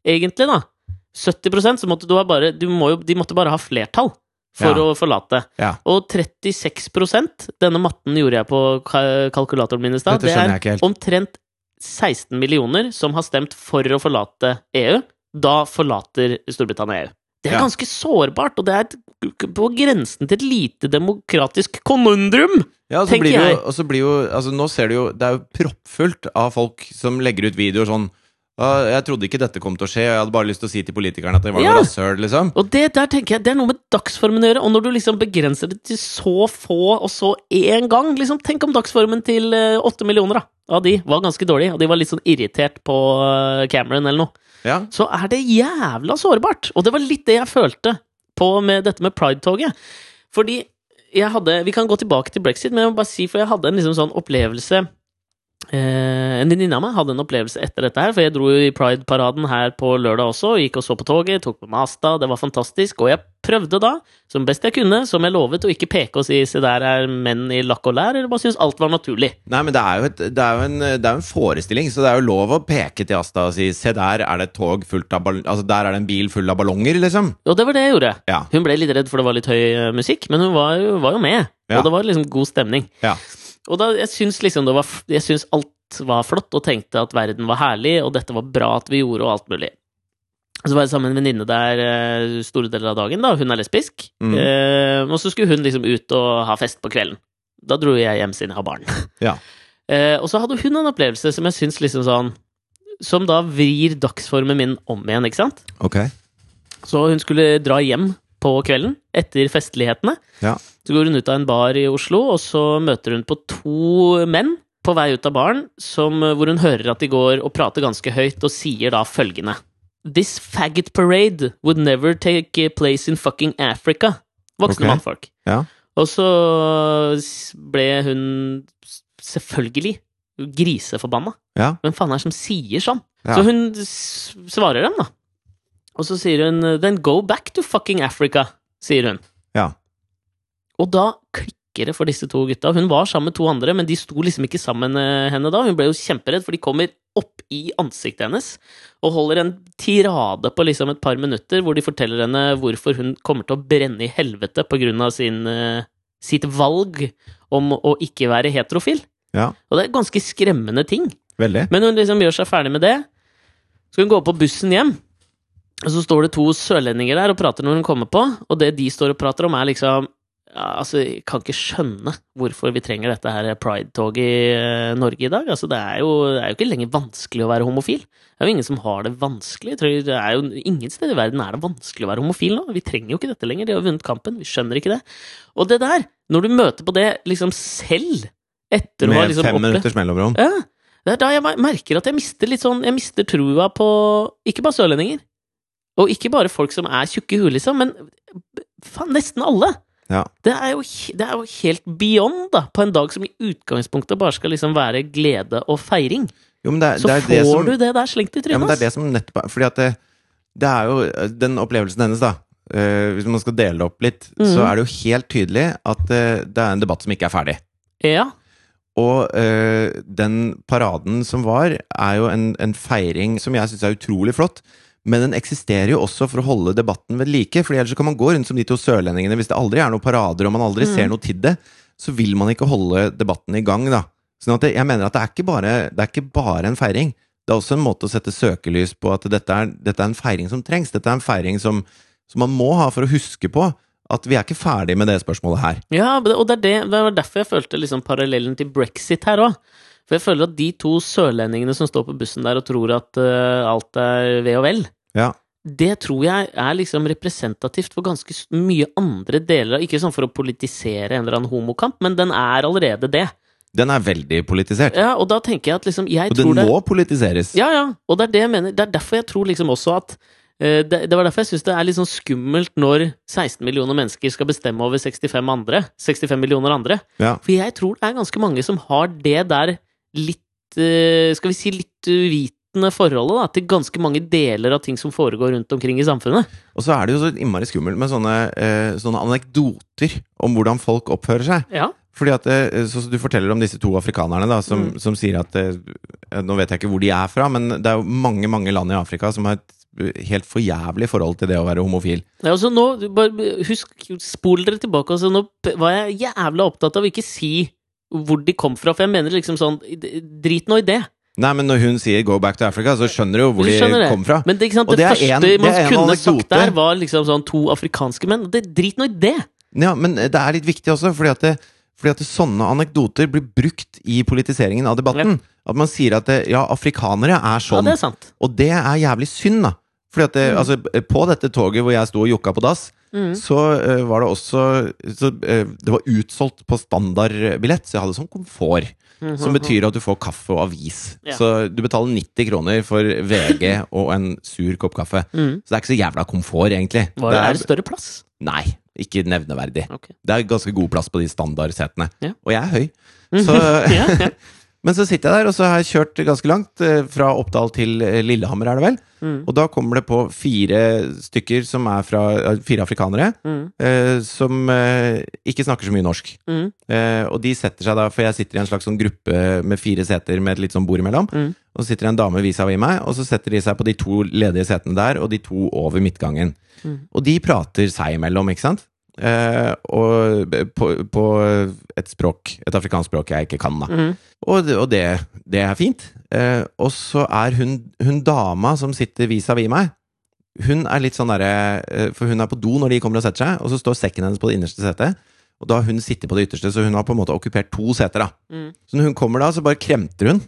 [SPEAKER 1] egentlig, da. 70 så måtte du ha bare du må jo, De måtte bare ha flertall for
[SPEAKER 2] Ja.
[SPEAKER 1] å forlate.
[SPEAKER 2] Ja.
[SPEAKER 1] Og 36 Denne matten gjorde jeg på ka- kalkulatoren min i stad.
[SPEAKER 2] Dette
[SPEAKER 1] Det
[SPEAKER 2] skjønner
[SPEAKER 1] er
[SPEAKER 2] jeg ikke helt.
[SPEAKER 1] omtrent 16 millioner som har stemt for å forlate EU. Da forlater Storbritannia EU. Det er
[SPEAKER 2] Ja.
[SPEAKER 1] ganske sårbart, og det er et, på grensen til et lite demokratisk konundrum!
[SPEAKER 2] Ja, og så
[SPEAKER 1] tenker
[SPEAKER 2] blir det jo,
[SPEAKER 1] jeg.
[SPEAKER 2] og så blir jo altså, Nå ser du jo Det er jo proppfullt av folk som legger ut videoer sånn «Ah, jeg trodde ikke dette kom til å skje, og jeg hadde bare lyst til å si til politikerne at det var noe
[SPEAKER 1] Ja.
[SPEAKER 2] rasshøl, liksom.
[SPEAKER 1] Og det der tenker jeg, det er noe med dagsformen å gjøre, og når du liksom begrenser det til så få, og så én gang liksom, Tenk om dagsformen til eh, åtte millioner da, av de var ganske dårlig, og de var litt sånn irritert på eh, Cameron eller noe.
[SPEAKER 2] Ja.
[SPEAKER 1] så er det jævla sårbart. Og det var litt det jeg følte på med dette med Pride-toget. Fordi jeg hadde Vi kan gå tilbake til brexit, men jeg må bare si, for jeg hadde en liksom sånn opplevelse eh, En venninne av meg hadde en opplevelse etter dette her, for jeg dro jo i Pride-paraden her på lørdag også, og gikk og så på toget, tok med meg Asta, det var fantastisk, og jeg prøvde da, som best jeg kunne, som jeg lovet, å ikke peke og si 'se der er menn i lakk og lær', eller bare synes alt var naturlig.
[SPEAKER 2] Nei, men det er, jo et, det, er jo en, det er jo en forestilling, så det er jo lov å peke til Asta og si 'se der er det et tog fullt av ball Altså der er det en bil full av ballonger', liksom.
[SPEAKER 1] Og det var det jeg gjorde.
[SPEAKER 2] Ja.
[SPEAKER 1] Hun ble litt redd, for det var litt høy eh, musikk, men hun var jo, var jo med.
[SPEAKER 2] Ja.
[SPEAKER 1] Og det var liksom god stemning.
[SPEAKER 2] Ja.
[SPEAKER 1] Og da, jeg syns liksom det var f- Jeg syns alt var flott, og tenkte at verden var herlig, og dette var bra at vi gjorde, og alt mulig. Så var jeg sammen med en venninne der eh, store deler av dagen, da. Hun er lesbisk.
[SPEAKER 2] Mhm.
[SPEAKER 1] Eh, og så skulle hun liksom ut og ha fest på kvelden. Da dro jeg hjem siden jeg har barn.
[SPEAKER 2] [LAUGHS] Ja.
[SPEAKER 1] Eh, og så hadde hun en opplevelse som jeg syns liksom sånn Som da vrir dagsformen min om igjen, ikke sant?
[SPEAKER 2] Ok.
[SPEAKER 1] Så hun skulle dra hjem på kvelden etter festlighetene.
[SPEAKER 2] Ja.
[SPEAKER 1] Så går hun ut av en bar i Oslo, og så møter hun på to menn på vei ut av baren, som, hvor hun hører at de går og prater ganske høyt, og sier da følgende This faggot parade would never take place in fucking Africa. Voksne
[SPEAKER 2] Ok.
[SPEAKER 1] mannfolk.
[SPEAKER 2] Ja.
[SPEAKER 1] Og så s- ble hun s- selvfølgelig griseforbanna.
[SPEAKER 2] Ja.
[SPEAKER 1] Hvem faen er det som sier sånn?
[SPEAKER 2] Ja.
[SPEAKER 1] Så hun s- svarer dem, da. Og så sier hun Then go back to fucking Africa, sier hun.
[SPEAKER 2] Ja.
[SPEAKER 1] Og da klikker det for disse to gutta. Hun var sammen med to andre, men de sto liksom ikke sammen eh, henne da. Hun ble jo kjemperedd, for de kommer opp i ansiktet hennes og holder en tirade på liksom et par minutter hvor de forteller henne hvorfor hun kommer til å brenne i helvete på grunn av sin, eh, sitt valg om å ikke være heterofil.
[SPEAKER 2] Ja.
[SPEAKER 1] Og det er ganske skremmende ting.
[SPEAKER 2] Veldig.
[SPEAKER 1] Men hun liksom gjør seg ferdig med det. Så skal hun gå på bussen hjem, og så står det to sørlendinger der og prater når hun kommer på, og det de står og prater om, er liksom ja, Altså, jeg kan ikke skjønne hvorfor vi trenger dette her pride-toget i eh, Norge i dag. Altså, det er, jo, det er jo ikke lenger vanskelig å være homofil. Det er jo ingen som har det vanskelig. Jeg tror det er jo Ingen steder i verden er det vanskelig å være homofil nå. Vi trenger jo ikke dette lenger. De har vunnet kampen. Vi skjønner ikke det. Og det der, når du møter på det liksom selv etter å ha
[SPEAKER 2] Med
[SPEAKER 1] liksom
[SPEAKER 2] fem
[SPEAKER 1] opplevd
[SPEAKER 2] minutters mellomrom.
[SPEAKER 1] ja. Det er da jeg mer- merker at jeg mister litt sånn Jeg mister trua på ikke bare sørlendinger, og ikke bare folk som er tjukke i huet, liksom, men faen, nesten alle.
[SPEAKER 2] Ja.
[SPEAKER 1] Det er, jo, he- det er jo helt beyond, da, på en dag som i utgangspunktet bare skal liksom være glede og feiring.
[SPEAKER 2] Jo, men det, er-
[SPEAKER 1] Så
[SPEAKER 2] det er det
[SPEAKER 1] får
[SPEAKER 2] som,
[SPEAKER 1] du det der slengt i
[SPEAKER 2] Ja, men
[SPEAKER 1] trynet.
[SPEAKER 2] det er det som nettopp er- Fordi at det, det er jo eh, den opplevelsen hennes, da. eh, hvis man skal dele det opp litt,
[SPEAKER 1] Mhm.
[SPEAKER 2] så er det jo helt tydelig at eh, det er en debatt som ikke er ferdig.
[SPEAKER 1] ass. ja.
[SPEAKER 2] Og eh, den paraden som var, er jo en, en feiring som jeg syns er utrolig flott. Men den eksisterer jo også for å holde debatten ved like. For ellers så kan man gå rundt som de to sørlendingene. Hvis det aldri er noen parader, og man aldri
[SPEAKER 1] Mm.
[SPEAKER 2] ser noe til det, så vil man ikke holde debatten i gang, da. Sånn at det, jeg mener at det er, ikke bare, det er ikke bare en feiring. Det er også en måte å sette søkelys på at dette er, dette er en feiring som trengs. Dette er en feiring som, som man må ha for å huske på at vi er ikke ferdig med det spørsmålet her.
[SPEAKER 1] Ja, men det- og det, er det, det var derfor jeg følte liksom parallellen til brexit her òg. For jeg føler at de to sørlendingene som står på bussen der og tror at eh, alt er ve og vel,
[SPEAKER 2] Ja.
[SPEAKER 1] det tror jeg er liksom representativt for ganske s- mye andre deler av Ikke sånn for å politisere en eller annen homokamp, men den er allerede det.
[SPEAKER 2] Den er veldig politisert.
[SPEAKER 1] Ja, og da tenker jeg at liksom jeg
[SPEAKER 2] Og den
[SPEAKER 1] tror det,
[SPEAKER 2] må politiseres.
[SPEAKER 1] Ja, ja, og det er det jeg mener. Det er derfor jeg tror liksom også at eh, det, det var derfor jeg syns det er litt sånn skummelt når 16 millioner mennesker skal bestemme over 65 andre. 65 millioner andre.
[SPEAKER 2] Ja.
[SPEAKER 1] For jeg tror det er ganske mange som har det der litt eh, Skal vi si litt uvitende forholdet da, til ganske mange deler av ting som foregår rundt omkring i samfunnet.
[SPEAKER 2] Og så er det jo så innmari skummelt med sånne, eh, sånne anekdoter om hvordan folk oppfører seg.
[SPEAKER 1] Ja.
[SPEAKER 2] Fordi at eh, sånn som du forteller om disse to afrikanerne da, som,
[SPEAKER 1] Mm.
[SPEAKER 2] som sier at eh, Nå vet jeg ikke hvor de er fra, men det er jo mange mange land i Afrika som har et helt forjævlig forhold til det å være homofil.
[SPEAKER 1] Ja, altså nå, du bare husk, spol dere tilbake, altså nå p- var jeg jævla opptatt av å ikke si hvor de kom fra, for jeg mener liksom sånn, d- drit nå i det.
[SPEAKER 2] Nei, men når hun sier 'go back to Africa', så skjønner du jo hvor
[SPEAKER 1] Du
[SPEAKER 2] de
[SPEAKER 1] skjønner det.
[SPEAKER 2] kom fra.
[SPEAKER 1] Men det, ikke sant,
[SPEAKER 2] Og det er
[SPEAKER 1] det,
[SPEAKER 2] en-
[SPEAKER 1] første
[SPEAKER 2] det er
[SPEAKER 1] man
[SPEAKER 2] en
[SPEAKER 1] kunne
[SPEAKER 2] anekdote.
[SPEAKER 1] sagt der, var liksom sånn to afrikanske menn. Det, drit nå i det!
[SPEAKER 2] Ja, men det er litt viktig også, fordi at, det, fordi at det, sånne anekdoter blir brukt i politiseringen av debatten. At man sier at det, ja, afrikanere er
[SPEAKER 1] Ja,
[SPEAKER 2] sånn.
[SPEAKER 1] det er sant.
[SPEAKER 2] Og det er jævlig synd, da. Fordi at det, altså, På dette toget hvor jeg sto og jokka på dass,
[SPEAKER 1] Mm.
[SPEAKER 2] så eh, var det også så, eh, Det var utsolgt på standardbillett, så jeg hadde sånn komfort. Som betyr at du får kaffe og avis.
[SPEAKER 1] Mhm, Ja.
[SPEAKER 2] Så du betaler 90 kroner for VG og en sur kopp kaffe.
[SPEAKER 1] Mhm.
[SPEAKER 2] Så det er ikke så jævla komfort, egentlig.
[SPEAKER 1] Var det er det større plass?
[SPEAKER 2] Nei, ikke nevneverdig.
[SPEAKER 1] Ok.
[SPEAKER 2] Det er ganske god plass på de standardsetene.
[SPEAKER 1] Ja. Mhm.
[SPEAKER 2] Og jeg er høy. Så,
[SPEAKER 1] [LAUGHS] Ja, ja.
[SPEAKER 2] men så sitter jeg der, og så har jeg kjørt ganske langt. eh, Fra Oppdal til eh, Lillehammer, er det vel.
[SPEAKER 1] Mm.
[SPEAKER 2] Og da kommer det på fire stykker som er fra eh, Fire afrikanere.
[SPEAKER 1] Mm.
[SPEAKER 2] eh, som eh, ikke snakker så mye norsk.
[SPEAKER 1] Mm.
[SPEAKER 2] Eh, og de setter seg da, for jeg sitter i en slags sånn gruppe med fire seter med et litt sånn bord imellom.
[SPEAKER 1] Mm.
[SPEAKER 2] Og så sitter det en dame vis-à-vis meg, og så setter de seg på de to ledige setene der, og de to over midtgangen.
[SPEAKER 1] Mm.
[SPEAKER 2] Og de prater seg imellom, ikke sant? Eh, og på, på et språk, et afrikansk språk jeg ikke kan, da.
[SPEAKER 1] Mm.
[SPEAKER 2] Og, det- og det, det er fint. Eh, og så er hun, hun dama som sitter vis-à-vis meg, hun er litt sånn derre eh, For hun er på do når de kommer og setter seg, og så står sekken hennes på det innerste setet. Og da har hun sittet på det ytterste, så hun har på en måte okkupert to seter. da
[SPEAKER 1] Mm.
[SPEAKER 2] Så når hun kommer da, så bare kremter hun.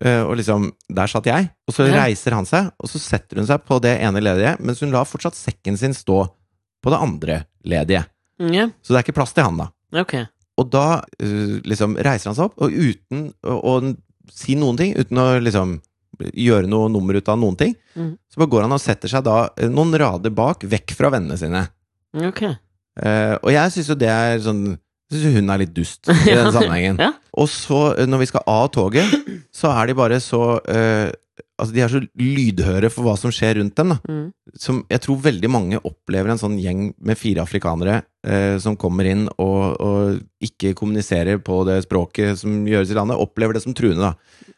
[SPEAKER 2] eh, Og liksom, der satt jeg. Og så
[SPEAKER 1] Ja.
[SPEAKER 2] reiser han seg, og så setter hun seg på det ene ledige, mens hun lar fortsatt sekken sin stå på det andre ledige.
[SPEAKER 1] Ja,
[SPEAKER 2] Så det er ikke plass til han, da.
[SPEAKER 1] ok.
[SPEAKER 2] Og da eh, liksom reiser han seg opp, og uten å, å si noen ting, uten å liksom gjøre noe nummer ut av noen ting,
[SPEAKER 1] Mhm.
[SPEAKER 2] så bare går han og setter seg da eh, noen rader bak, vekk fra vennene sine.
[SPEAKER 1] Ok.
[SPEAKER 2] Eh, og jeg syns jo det er sånn Jeg syns hun er litt dust i
[SPEAKER 1] [LAUGHS] Ja.
[SPEAKER 2] den sammenhengen.
[SPEAKER 1] Ja.
[SPEAKER 2] Og så, eh, når vi skal av toget, så er de bare så eh, Altså, de er så lydhøre for hva som skjer rundt dem, da
[SPEAKER 1] Mm.
[SPEAKER 2] som jeg tror veldig mange opplever en sånn gjeng med fire afrikanere eh, som kommer inn og, og ikke kommuniserer på det språket som gjøres i landet, opplever det som truende, da.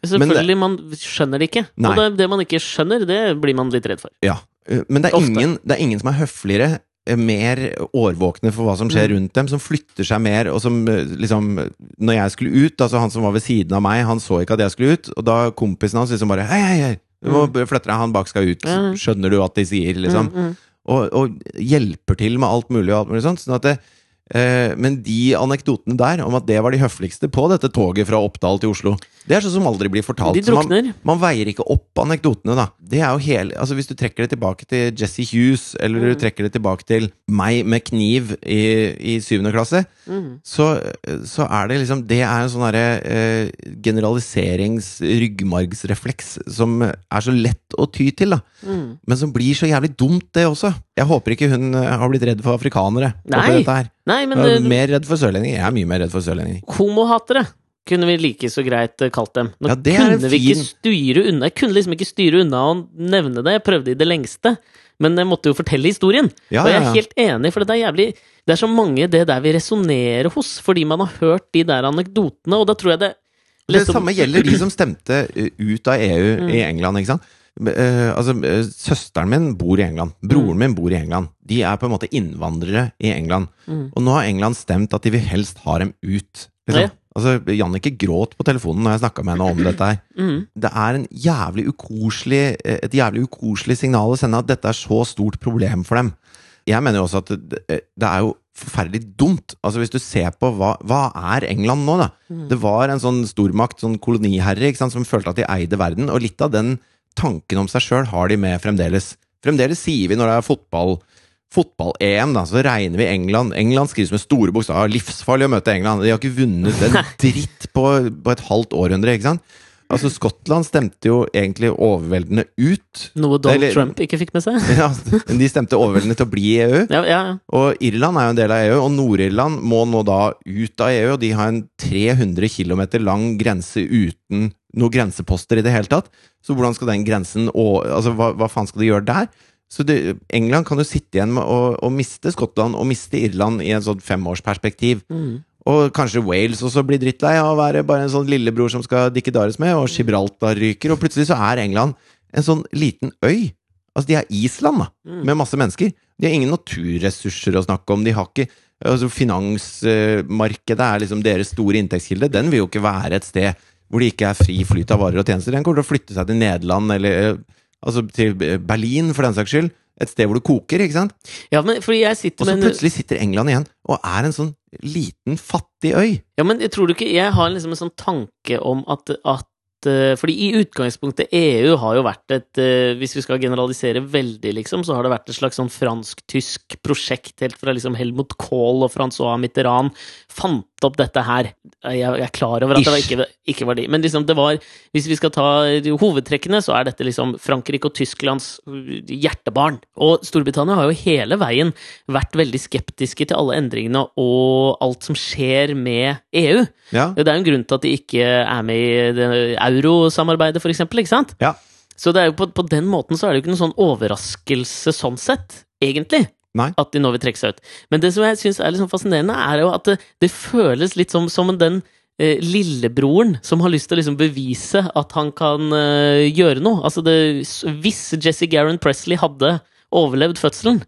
[SPEAKER 1] Selvfølgelig, man skjønner det ikke.
[SPEAKER 2] Nei.
[SPEAKER 1] Og det, det man ikke skjønner, det blir man litt redd for.
[SPEAKER 2] Ja. Eh, Men det er,
[SPEAKER 1] Ofte.
[SPEAKER 2] ingen, det er ingen som er høfligere, eh, mer årvåkne for hva som
[SPEAKER 1] Mm.
[SPEAKER 2] skjer rundt dem, som flytter seg mer, og som eh, liksom Når jeg skulle ut, altså han som var ved siden av meg, han så ikke at jeg skulle ut, og da kompisen hans liksom bare Hei, hei, hei! Du må flytte deg, han bak skal ut.
[SPEAKER 1] Mm. Ja.
[SPEAKER 2] Skjønner du at de sier, liksom?
[SPEAKER 1] Mm, mm.
[SPEAKER 2] og, og hjelper til med alt mulig og alt mulig sånt. Sånn at det, eh, men de anekdotene der om at det var de høfligste på dette toget fra Oppdal til Oslo, det er sånn som aldri blir fortalt.
[SPEAKER 1] De
[SPEAKER 2] Så man,
[SPEAKER 1] drukner.
[SPEAKER 2] man veier ikke opp anekdotene, da. Det er jo hele, altså Hvis du trekker det tilbake til Jesse Hughes, eller
[SPEAKER 1] Mm.
[SPEAKER 2] du trekker det tilbake til meg med kniv i, i syvende klasse,
[SPEAKER 1] Mm.
[SPEAKER 2] så, så er det liksom Det er en sånn derre eh, generaliserings-ryggmargsrefleks som er så lett å ty til, da.
[SPEAKER 1] Mm.
[SPEAKER 2] Men som blir så jævlig dumt, det også. Jeg håper ikke hun eh, har blitt redd for afrikanere.
[SPEAKER 1] Nei,
[SPEAKER 2] oppi dette her.
[SPEAKER 1] Nei, men
[SPEAKER 2] Hun er
[SPEAKER 1] eh,
[SPEAKER 2] mer redd for sørlendinger. Jeg er mye mer redd for sørlendinger.
[SPEAKER 1] homohatere kunne vi like så greit eh, kalt dem. Nå
[SPEAKER 2] Ja, det er en
[SPEAKER 1] kunne vi ikke
[SPEAKER 2] fin-
[SPEAKER 1] styre unna Jeg kunne liksom ikke styre unna å nevne det. Jeg prøvde i det lengste, men jeg måtte jo fortelle historien.
[SPEAKER 2] Ja,
[SPEAKER 1] og jeg
[SPEAKER 2] ja,
[SPEAKER 1] er
[SPEAKER 2] ja.
[SPEAKER 1] helt enig, for det er jævlig Det liksom- er så mange det der vi resonnerer hos, fordi man har hørt de der anekdotene, og da tror jeg det
[SPEAKER 2] Det
[SPEAKER 1] Leste om-
[SPEAKER 2] samme gjelder de som stemte eh, ut av EU
[SPEAKER 1] Mm.
[SPEAKER 2] i England, ikke sant. Eh, altså, eh, søsteren min bor i England. Broren min bor i England. De er på en måte innvandrere i England.
[SPEAKER 1] Mm.
[SPEAKER 2] Og nå har England stemt at de vil helst ha dem ut.
[SPEAKER 1] Ja.
[SPEAKER 2] Liksom. Altså, Jannicke gråt på telefonen når jeg snakka med henne om dette her.
[SPEAKER 1] Mm.
[SPEAKER 2] Det er en jævlig ukoselig, eh, et jævlig ukoselig signal å sende at dette er så stort problem for dem. Jeg mener jo også at det, det er jo forferdelig dumt. Altså Hvis du ser på hva, hva er England nå, da. Det var en sånn stormakt, sånn koloniherre, ikke sant, som følte at de eide verden. Og litt av den tanken om seg sjøl har de med fremdeles. Fremdeles sier vi når det er fotball fotball-EM, da, så regner vi England. England skrives med store bokstaver. Livsfarlig å møte England. De har ikke vunnet en dritt på, på et halvt århundre, ikke sant? Altså, Skottland stemte jo egentlig overveldende ut.
[SPEAKER 1] Noe Donald
[SPEAKER 2] Eller-
[SPEAKER 1] Trump ikke fikk med seg.
[SPEAKER 2] Ja, de stemte overveldende til å bli i E EU.
[SPEAKER 1] Ja, ja, ja.
[SPEAKER 2] Og Irland er jo en del av EU, og Nord-Irland må nå da ut av EU, og de har en 300 km lang grense uten noen grenseposter i det hele tatt. Så hvordan skal den grensen å- Altså, hva, hva faen skal de gjøre der? Så det, England kan jo sitte igjen med å, å miste Skottland og miste Irland i en sånn femårsperspektiv.
[SPEAKER 1] Mm.
[SPEAKER 2] Og kanskje Wales også blir drittlei av å være bare en sånn lillebror som skal dikkedares med, og Gibraltar ryker, og plutselig så er England en sånn liten øy. Altså, de er Island, da, med masse mennesker. De har ingen naturressurser å snakke om. De har ikke altså, Finansmarkedet er liksom deres store inntektskilde. Den vil jo ikke være et sted hvor det ikke er fri flyt av varer og tjenester. Den kommer til å flytte seg til Nederland, eller eh, altså til eh, Berlin, for den saks skyld. Et sted hvor det koker, ikke sant?
[SPEAKER 1] ja, men eh, fordi jeg sitter
[SPEAKER 2] Og så
[SPEAKER 1] med en
[SPEAKER 2] plutselig sitter England igjen og er en sånn liten, fattig øy.
[SPEAKER 1] Ja, men jeg tror du ikke Jeg har liksom en sånn tanke om at, at eh, Fordi i utgangspunktet EU har jo vært et eh, Hvis vi skal generalisere veldig, liksom, så har det vært et slags sånn fransk-tysk prosjekt helt fra liksom Helmut Kohl og Francois Mitterrand fant opp dette her. Jeg, jeg er klar over at det var
[SPEAKER 2] Ish.
[SPEAKER 1] ikke, ikke var de, men liksom det var Hvis vi skal ta de hovedtrekkene, så er dette liksom Frankrike og Tysklands eh, hjertebarn. Og Storbritannia har jo hele veien vært veldig skeptiske til alle endringene og alt som skjer med E EU.
[SPEAKER 2] Ja.
[SPEAKER 1] Det er jo en grunn til at de ikke er med i det eurosamarbeidet, for eksempel, ikke sant?
[SPEAKER 2] Ja.
[SPEAKER 1] Så det er jo på, på den måten så er det jo ikke noen sånn overraskelse sånn sett, egentlig.
[SPEAKER 2] Nei.
[SPEAKER 1] At de nå vil trekke seg ut. Men det som jeg syns er litt sånn fascinerende, er jo at det, det føles litt som, som den eh, lillebroren som har lyst til å liksom bevise at han kan eh, gjøre noe. Altså det, hvis Jesse Garren Presley hadde overlevd fødselen,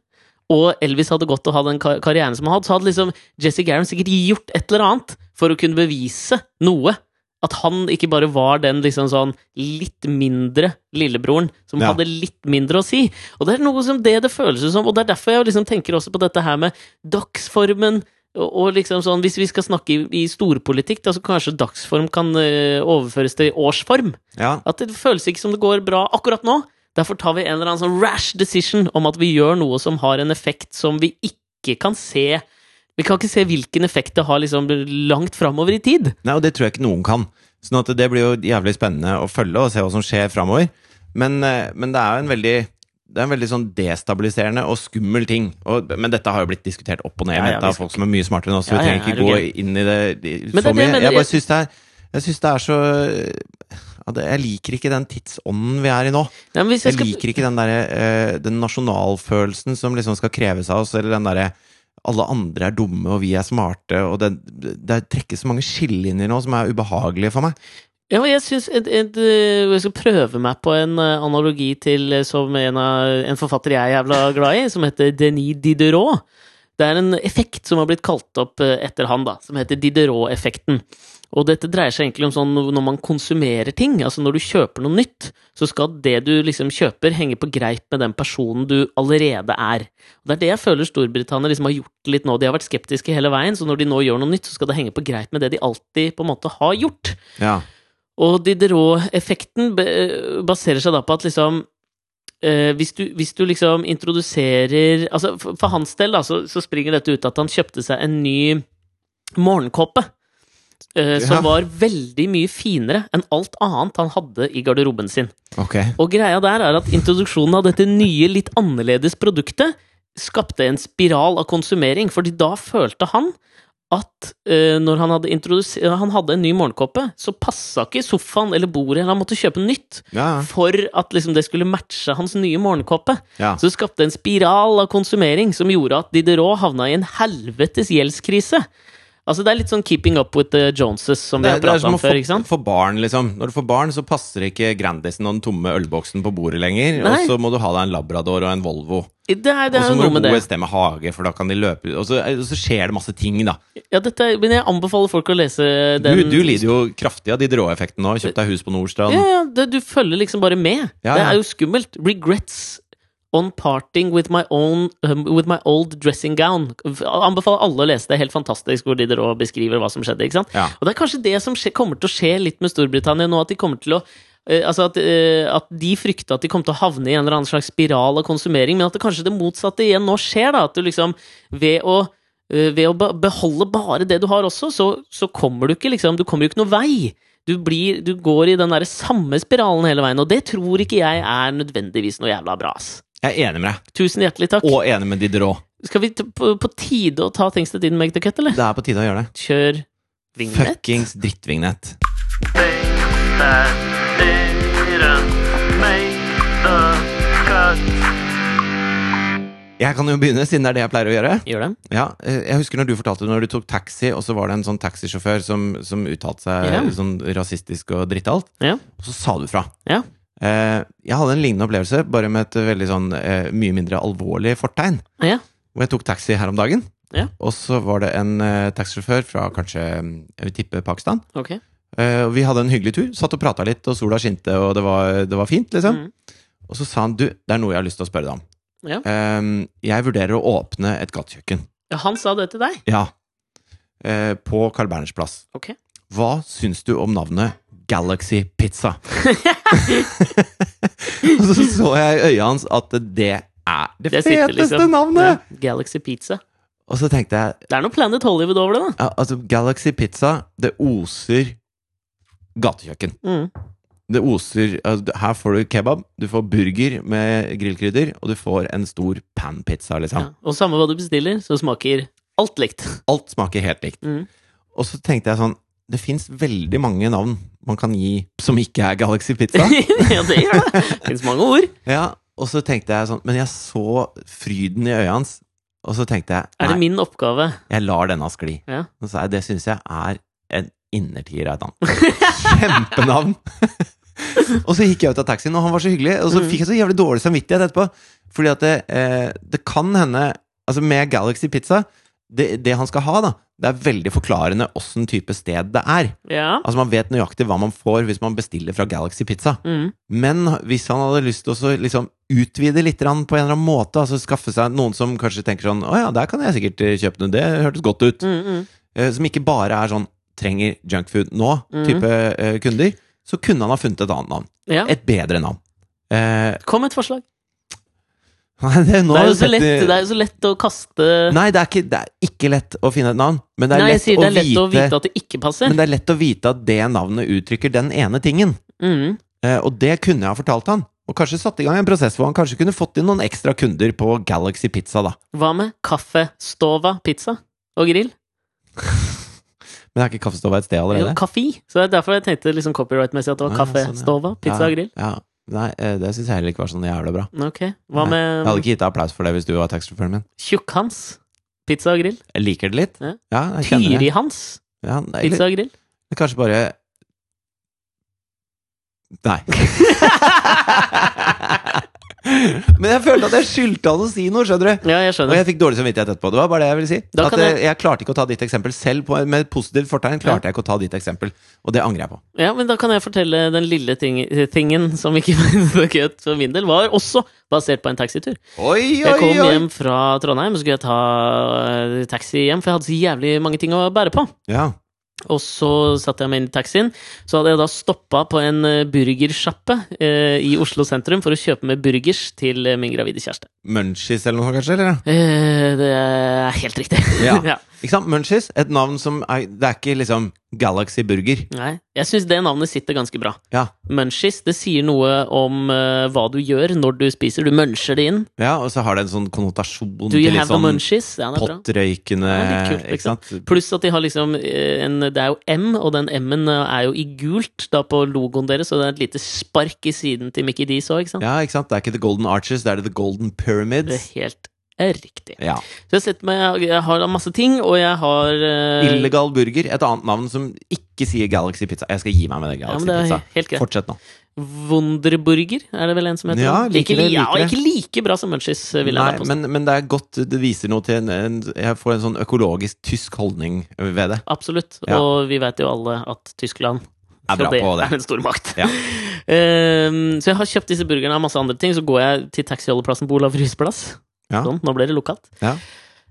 [SPEAKER 1] og Elvis hadde gått og hatt den kar- karrieren som han hadde, så hadde liksom Jesse Garren sikkert gjort et eller annet for å kunne bevise noe. At han ikke bare var den liksom sånn litt mindre lillebroren som
[SPEAKER 2] Ja.
[SPEAKER 1] hadde litt mindre å si. Og det er noe som det det føles ut som, og det er derfor jeg liksom tenker også på dette her med dagsformen. Og og liksom sånn, Hvis vi skal snakke i, i storpolitikk, da, så kanskje dagsform kan eh, overføres til årsform.
[SPEAKER 2] Ja.
[SPEAKER 1] At det føles ikke som det går bra akkurat nå. Derfor tar vi en eller annen sånn rash decision om at vi gjør noe som har en effekt som vi ikke kan se. Vi kan ikke se hvilken effekt det har liksom langt framover i tid.
[SPEAKER 2] Nei, og det tror jeg ikke noen kan. Sånn at det blir jo jævlig spennende å følge og se hva som skjer framover. Men, eh, men det er jo en veldig det er en veldig sånn destabiliserende og skummel ting. Og, men dette har jo blitt diskutert opp og ned
[SPEAKER 1] Ja, ja,
[SPEAKER 2] ja,
[SPEAKER 1] vi
[SPEAKER 2] av
[SPEAKER 1] skal
[SPEAKER 2] folk som er mye smartere enn oss. så vi
[SPEAKER 1] Ja, ja,
[SPEAKER 2] trenger
[SPEAKER 1] er du
[SPEAKER 2] ikke gå
[SPEAKER 1] gæren?
[SPEAKER 2] inn i det i, så
[SPEAKER 1] Men det er det jeg
[SPEAKER 2] mye.
[SPEAKER 1] mener,
[SPEAKER 2] Jeg,
[SPEAKER 1] jeg-
[SPEAKER 2] bare syns det er jeg synes det er så ja, det, Jeg liker ikke den tidsånden vi er i nå.
[SPEAKER 1] Nei, men hvis jeg
[SPEAKER 2] Jeg
[SPEAKER 1] skal,
[SPEAKER 2] liker ikke den der, eh, den nasjonalfølelsen som liksom skal kreves av oss, eller den derre alle andre er dumme, og vi er smarte, og det, det trekkes så mange skillelinjer nå som er ubehagelige for meg.
[SPEAKER 1] ja, men jeg, synes et, et, øh, jeg skal prøve meg på en øh, analogi til øh, som en, av, en forfatter jeg er jævla glad i, som heter Denis Diderot. Det er en effekt som har blitt kalt opp øh, etter han, da, som heter Diderot-effekten. Og dette dreier seg egentlig om sånn når man konsumerer ting. Altså når du kjøper noe nytt, så skal det du liksom kjøper, henge på greip med den personen du allerede er. Og det er det jeg føler Storbritannia liksom har gjort litt nå. De har vært skeptiske hele veien, så når de nå gjør noe nytt, så skal det henge på greip med det de alltid på en måte har gjort.
[SPEAKER 2] Ja.
[SPEAKER 1] Og Diderot-effekten be- eh, baserer seg da på at liksom eh, hvis, du, hvis du liksom introduserer altså For, for hans del da, så, så springer dette ut at han kjøpte seg en ny morgenkåpe. eh,
[SPEAKER 2] Ja.
[SPEAKER 1] Som var veldig mye finere enn alt annet han hadde i garderoben sin.
[SPEAKER 2] Ok.
[SPEAKER 1] Og greia der er at introduksjonen av dette nye, litt annerledes produktet skapte en spiral av konsumering, fordi da følte han at eh, når han hadde, introduse- han hadde en ny morgenkåpe, så passa ikke sofaen eller bordet, eller han måtte kjøpe nytt
[SPEAKER 2] Ja.
[SPEAKER 1] for at liksom, det skulle matche hans nye morgenkåpe.
[SPEAKER 2] ja.
[SPEAKER 1] Så det skapte en spiral av konsumering som gjorde at Diderot havna i en helvetes gjeldskrise. Altså, det er litt sånn keeping up with the Joneses, som vi
[SPEAKER 2] Det,
[SPEAKER 1] har
[SPEAKER 2] er- det er
[SPEAKER 1] pratet
[SPEAKER 2] som
[SPEAKER 1] om
[SPEAKER 2] å få,
[SPEAKER 1] før, ikke sant?
[SPEAKER 2] få barn, liksom. Når du får barn, så passer ikke Grandisen og den tomme ølboksen på bordet lenger.
[SPEAKER 1] Nei.
[SPEAKER 2] Og så må du ha deg en Labrador og en Volvo.
[SPEAKER 1] Det er,
[SPEAKER 2] Og
[SPEAKER 1] det er
[SPEAKER 2] så
[SPEAKER 1] jo
[SPEAKER 2] må du
[SPEAKER 1] noe med
[SPEAKER 2] bo
[SPEAKER 1] det.
[SPEAKER 2] et sted med hage, for da kan de løpe ut. Og så, og så skjer det masse ting, da.
[SPEAKER 1] Ja, dette, er- men jeg anbefaler folk å lese den.
[SPEAKER 2] Du, du lider jo kraftig av de råeffektene nå. Kjøpt deg hus på Nordstrand.
[SPEAKER 1] Ja, ja, det, du følger liksom bare med.
[SPEAKER 2] Ja,
[SPEAKER 1] Det
[SPEAKER 2] ja.
[SPEAKER 1] er jo skummelt. Regrets on parting with my, own, um, with my old dressing gown. Anbefaler alle å lese det. Helt fantastisk hvor Diderot beskriver hva som skjedde. ikke sant?
[SPEAKER 2] Ja.
[SPEAKER 1] Og det er kanskje det som skje, kommer til å skje litt med Storbritannia nå, at de kommer til å eh, Altså at, eh, at de frykta at de kom til å havne i en eller annen slags spiral av konsumering, men at det kanskje det motsatte igjen nå skjer, da. At du liksom ved å eh, ved å be- beholde bare det du har også, så, så kommer du ikke liksom Du kommer jo ikke noe vei. Du, blir, du går i den der samme spiralen hele veien, og det tror ikke jeg er nødvendigvis noe jævla bra, ass.
[SPEAKER 2] Jeg er enig med deg.
[SPEAKER 1] Tusen hjertelig takk.
[SPEAKER 2] Og enig med Diderot.
[SPEAKER 1] Skal vi t på, på tide å ta Things That Didn't Make The Cut, eller?
[SPEAKER 2] Det er på tide å gjøre det.
[SPEAKER 1] Kjør vignett.
[SPEAKER 2] Fuckings drittvignett.
[SPEAKER 3] things that didn't make the cut.
[SPEAKER 2] Jeg kan jo begynne, siden det er det jeg pleier å gjøre.
[SPEAKER 1] Gjør det.
[SPEAKER 2] Ja, eh, jeg husker når du fortalte når du tok taxi, og så var det en sånn taxisjåfør som, som uttalte seg
[SPEAKER 1] Ja.
[SPEAKER 2] sånn rasistisk og drittalt,
[SPEAKER 1] Ja.
[SPEAKER 2] og så sa du fra.
[SPEAKER 1] Ja.
[SPEAKER 2] Eh, jeg hadde en lignende opplevelse, bare med et veldig sånn eh, mye mindre alvorlig fortegn.
[SPEAKER 1] Ja.
[SPEAKER 2] Hvor jeg tok taxi her om dagen,
[SPEAKER 1] Ja.
[SPEAKER 2] og så var det en eh, taxisjåfør fra kanskje, mm, jeg vil tippe Pakistan.
[SPEAKER 1] Ok.
[SPEAKER 2] Eh, og vi hadde en hyggelig tur, satt og prata litt, og sola skinte, og det var, det var fint, liksom.
[SPEAKER 1] Mm.
[SPEAKER 2] Og så sa han du, det er noe jeg har lyst til å spørre deg om.
[SPEAKER 1] Ja.
[SPEAKER 2] Eh, jeg vurderer å åpne et gatekjøkken.
[SPEAKER 1] Ja, han sa det til deg.
[SPEAKER 2] Ja. Eh, på Carl Berners plass.
[SPEAKER 1] Ok.
[SPEAKER 2] Hva syns du om navnet Galaxy
[SPEAKER 1] [LAUGHS]
[SPEAKER 2] Pizza? [LAUGHS] og så så jeg i øya hans at det er det,
[SPEAKER 1] Det sitter
[SPEAKER 2] feteste
[SPEAKER 1] liksom. Ja.
[SPEAKER 2] navnet!
[SPEAKER 1] Galaxy Pizza.
[SPEAKER 2] Og så tenkte jeg
[SPEAKER 1] Det er noe Planet Hollywood over det, da.
[SPEAKER 2] ja, altså Galaxy Pizza, det oser gatekjøkken.
[SPEAKER 1] Mm.
[SPEAKER 2] Det oser altså, Her får du kebab, du får burger med grillkrydder, og du får en stor panpizza, liksom.
[SPEAKER 1] Ja. Og samme hva du bestiller, så smaker alt likt.
[SPEAKER 2] Alt smaker helt likt.
[SPEAKER 1] Mm.
[SPEAKER 2] Og så tenkte jeg sånn Det fins veldig mange navn man kan gi som ikke er Galaxy
[SPEAKER 1] [LAUGHS]
[SPEAKER 2] Pizza.
[SPEAKER 1] [LAUGHS] ja, det gjør det. Fins mange ord.
[SPEAKER 2] ja, og så tenkte jeg sånn Men jeg så fryden i øya hans, og så tenkte
[SPEAKER 1] Er
[SPEAKER 2] jeg
[SPEAKER 1] det
[SPEAKER 2] Nei,
[SPEAKER 1] min oppgave?
[SPEAKER 2] jeg lar denne skli.
[SPEAKER 1] Ja.
[SPEAKER 2] Og så er det syns jeg er en innertier av et navn. Kjempenavn! og så gikk jeg ut av taxien, og han var så hyggelig. Og så
[SPEAKER 1] Mhm.
[SPEAKER 2] fikk jeg så jævlig dårlig samvittighet etterpå. Fordi at det, eh, det kan hende Altså, med Galaxy Pizza det, det han skal ha, da, det er veldig forklarende åssen type sted det er.
[SPEAKER 1] Ja.
[SPEAKER 2] Altså Man vet nøyaktig hva man får hvis man bestiller fra Galaxy Pizza.
[SPEAKER 1] Mm.
[SPEAKER 2] Men hvis han hadde lyst til å så liksom utvide litt grann på en eller annen måte, altså skaffe seg noen som kanskje tenker sånn Å ja, der kan jeg sikkert eh, kjøpe noe, det hørtes godt ut.
[SPEAKER 1] Mm, mm.
[SPEAKER 2] Eh, Som ikke bare er sånn trenger junkfood
[SPEAKER 1] Mhm.
[SPEAKER 2] nå-type eh, kunder. Så kunne han ha funnet et annet navn.
[SPEAKER 1] ja.
[SPEAKER 2] Et bedre navn. Eh, [LAUGHS]
[SPEAKER 1] Kom med et forslag.
[SPEAKER 2] nei, det, nå
[SPEAKER 1] Det
[SPEAKER 2] har
[SPEAKER 1] er
[SPEAKER 2] du
[SPEAKER 1] jo så
[SPEAKER 2] sett
[SPEAKER 1] lett,
[SPEAKER 2] i-
[SPEAKER 1] det er jo så lett å kaste
[SPEAKER 2] Nei, det er, ikke, det er ikke lett å finne et navn, men det er,
[SPEAKER 1] Nei, jeg
[SPEAKER 2] lett,
[SPEAKER 1] sier
[SPEAKER 2] å
[SPEAKER 1] det er lett
[SPEAKER 2] vite,
[SPEAKER 1] å vite at det ikke passer.
[SPEAKER 2] men det er lett å vite at det navnet uttrykker den ene tingen.
[SPEAKER 1] Mm.
[SPEAKER 2] Eh, og det kunne jeg ha fortalt han. Og kanskje satt i gang en prosess hvor han kanskje kunne fått inn noen ekstra kunder på Galaxy Pizza,
[SPEAKER 1] [LAUGHS]
[SPEAKER 2] da.
[SPEAKER 1] Hva med kaffestova, pizza og grill?
[SPEAKER 2] Men er ikke kaffestova et sted
[SPEAKER 1] Jo,
[SPEAKER 2] allerede?
[SPEAKER 1] Kaffi. Så det er derfor jeg tenkte liksom copyright-messig at det var
[SPEAKER 2] Ja,
[SPEAKER 1] kaffe,
[SPEAKER 2] sånn, ja.
[SPEAKER 1] stova, pizza og grill.
[SPEAKER 2] Ja, ja. Nei, eh, det syns jeg heller ikke var sånn jævla bra.
[SPEAKER 1] Ok. Hva
[SPEAKER 2] Nei, Jeg hadde
[SPEAKER 1] med
[SPEAKER 2] ikke gitt deg applaus for det hvis du var taxisjåføren min.
[SPEAKER 1] tjukk-Hans? Pizza og grill?
[SPEAKER 2] Jeg liker det litt.
[SPEAKER 1] Ja.
[SPEAKER 2] Ja, jeg kjenner det.
[SPEAKER 1] Tyri-Hans?
[SPEAKER 2] Ja, det er
[SPEAKER 1] Pizza og grill?
[SPEAKER 2] litt- Kanskje bare
[SPEAKER 1] [LAUGHS]
[SPEAKER 2] Nei. [LAUGHS] Men jeg følte at jeg skyldte han å si noe, skjønner du.
[SPEAKER 1] Ja,
[SPEAKER 2] Og
[SPEAKER 1] jeg skjønner.
[SPEAKER 2] jeg fikk dårlig samvittighet etterpå. Det var bare det jeg ville si.
[SPEAKER 1] Da
[SPEAKER 2] At
[SPEAKER 1] kan
[SPEAKER 2] eh,
[SPEAKER 1] jeg-
[SPEAKER 2] jeg... klarte ikke å ta ditt eksempel selv. På, med et positivt fortegn klarte jeg ikke å ta ditt eksempel, og det angrer jeg på.
[SPEAKER 1] Ja, men da kan jeg fortelle den lille ting, tingen som ikke [LAUGHS] var gøy for min del, var også basert på en taxitur.
[SPEAKER 2] Oi, oi,
[SPEAKER 1] Jeg kom
[SPEAKER 2] oi!
[SPEAKER 1] hjem fra Trondheim, så skulle jeg ta eh, taxi hjem, for jeg hadde så jævlig mange ting å bære på.
[SPEAKER 2] Ja.
[SPEAKER 1] Og så satte jeg meg inn i taxien. Så hadde jeg da stoppa på en eh, burgersjappe eh, i Oslo sentrum for å kjøpe med burgers til eh, min gravide kjæreste.
[SPEAKER 2] Munchies eller noe sånt, kanskje? Eller?
[SPEAKER 1] Eh, det er helt riktig.
[SPEAKER 2] Ja.
[SPEAKER 1] [LAUGHS] ja.
[SPEAKER 2] [LAUGHS] Ikke sant? Munchies, et navn som er, Det er ikke liksom Galaxy Burger.
[SPEAKER 1] Nei. Jeg syns det navnet sitter ganske bra.
[SPEAKER 2] Ja,
[SPEAKER 1] Munchies, det sier noe om eh, hva du gjør når du spiser. Du muncher det inn.
[SPEAKER 2] ja og så har det en sånn konnotasjon
[SPEAKER 1] Do
[SPEAKER 2] til
[SPEAKER 1] you
[SPEAKER 2] litt
[SPEAKER 1] have a
[SPEAKER 2] sånn
[SPEAKER 1] munchies? Ja, det er bra.
[SPEAKER 2] pottrøykende
[SPEAKER 1] Ja, litt kult,
[SPEAKER 2] Ikke
[SPEAKER 1] liksom.
[SPEAKER 2] sant?
[SPEAKER 1] Pluss at de har liksom eh, en, Det er jo M, og den M-en eh, er jo i gult da på logoen deres, og det er et lite spark i siden til Mickey Dees òg, ikke sant?
[SPEAKER 2] Ja, ikke sant? Det er ikke The Golden Arches, det er The Golden
[SPEAKER 1] Det er
[SPEAKER 2] Pyramids.
[SPEAKER 1] helt er riktig.
[SPEAKER 2] Ja.
[SPEAKER 1] Så jeg, setter meg, jeg har masse ting, og jeg har eh,
[SPEAKER 2] Illegal burger, et annet navn som ikke sier Galaxy Pizza. Jeg skal gi meg med det
[SPEAKER 1] Ja,
[SPEAKER 2] Galaxy
[SPEAKER 1] men det er
[SPEAKER 2] Pizza.
[SPEAKER 1] he- helt greit.
[SPEAKER 2] Fortsett nå.
[SPEAKER 1] Wunderburger, er det vel en som heter?
[SPEAKER 2] Ja, liker
[SPEAKER 1] ikke,
[SPEAKER 2] det,
[SPEAKER 1] li- ja,
[SPEAKER 2] liker det.
[SPEAKER 1] ikke like bra som Munchies, vil jeg
[SPEAKER 2] Nei,
[SPEAKER 1] da påstå.
[SPEAKER 2] men, men det er godt Det viser noe til en, en Jeg får en sånn økologisk tysk holdning ved det.
[SPEAKER 1] Absolutt.
[SPEAKER 2] Ja.
[SPEAKER 1] Og vi vet jo alle at Tyskland
[SPEAKER 2] Er bra
[SPEAKER 1] og det
[SPEAKER 2] på det.
[SPEAKER 1] er en stor makt.
[SPEAKER 2] Ja.
[SPEAKER 1] [LAUGHS] Ehm, så jeg har kjøpt disse burgerne og masse andre ting. Så går jeg til taxiholdeplassen på Olav Ryes plass.
[SPEAKER 2] Ja.
[SPEAKER 1] Sånn, nå ble det lokalt.
[SPEAKER 2] Ja.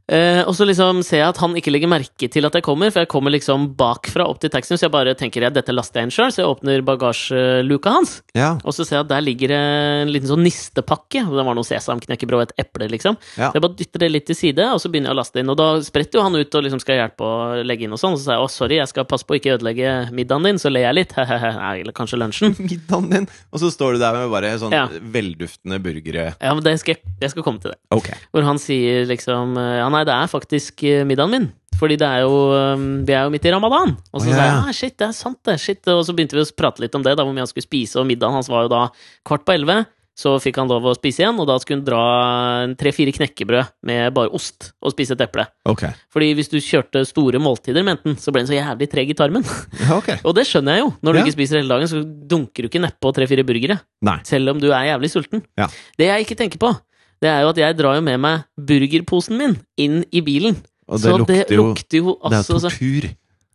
[SPEAKER 1] Eh, og så liksom ser jeg at han ikke legger merke til at jeg kommer, for jeg kommer liksom bakfra opp til taxien. Så jeg bare tenker ja, dette laster jeg inn sjøl, så jeg åpner bagasjeluka hans.
[SPEAKER 2] Ja,
[SPEAKER 1] Og så ser jeg at der ligger det en liten sånn nistepakke. og Det var noe sesamknekkebrød og et eple, liksom.
[SPEAKER 2] Ja.
[SPEAKER 1] Så jeg bare dytter det litt til side, og så begynner jeg å laste inn. Og da spretter jo han ut og liksom skal hjelpe å legge inn og sånn. Og så sier jeg å, sorry, jeg skal passe på å ikke ødelegge middagen din, så ler jeg litt. [LAUGHS] Hehehe. Nei, eller kanskje lunsjen.
[SPEAKER 2] [LAUGHS] middagen din! Og så står du der med bare sånn
[SPEAKER 1] Ja.
[SPEAKER 2] velduftende burgere.
[SPEAKER 1] Ja, men det skal jeg, jeg skal komme til det.
[SPEAKER 2] Ok.
[SPEAKER 1] Hvor han sier liksom Ja, nei, det er faktisk eh, middagen min. Fordi det er jo eh, Vi er jo midt i ramadan. Og
[SPEAKER 2] Å, ja,
[SPEAKER 1] så sa jeg
[SPEAKER 2] ja.
[SPEAKER 1] ja, shit, det er sant, det. Shit. Og så begynte vi å prate litt om det, da hvor mye han skulle spise, og middagen hans var jo da kvart på elleve. Så fikk han lov å spise igjen, og da skulle han dra en tre-fire knekkebrød med bare ost og spise et eple.
[SPEAKER 2] Ok.
[SPEAKER 1] Fordi hvis du kjørte store måltider med enten, så ble han så jævlig treg i tarmen.
[SPEAKER 2] Ja, ok.
[SPEAKER 1] Og det skjønner jeg jo. Når du
[SPEAKER 2] Ja.
[SPEAKER 1] ikke spiser hele dagen, så dunker du ikke nedpå tre-fire burgere.
[SPEAKER 2] Nei.
[SPEAKER 1] Selv om du er jævlig sulten.
[SPEAKER 2] Ja.
[SPEAKER 1] Det jeg ikke tenker på, det er jo at jeg drar jo med meg burgerposen min inn i bilen.
[SPEAKER 2] Og det
[SPEAKER 1] så det
[SPEAKER 2] lukter jo
[SPEAKER 1] lukter jo
[SPEAKER 2] Det er
[SPEAKER 1] altså så,
[SPEAKER 2] tortur.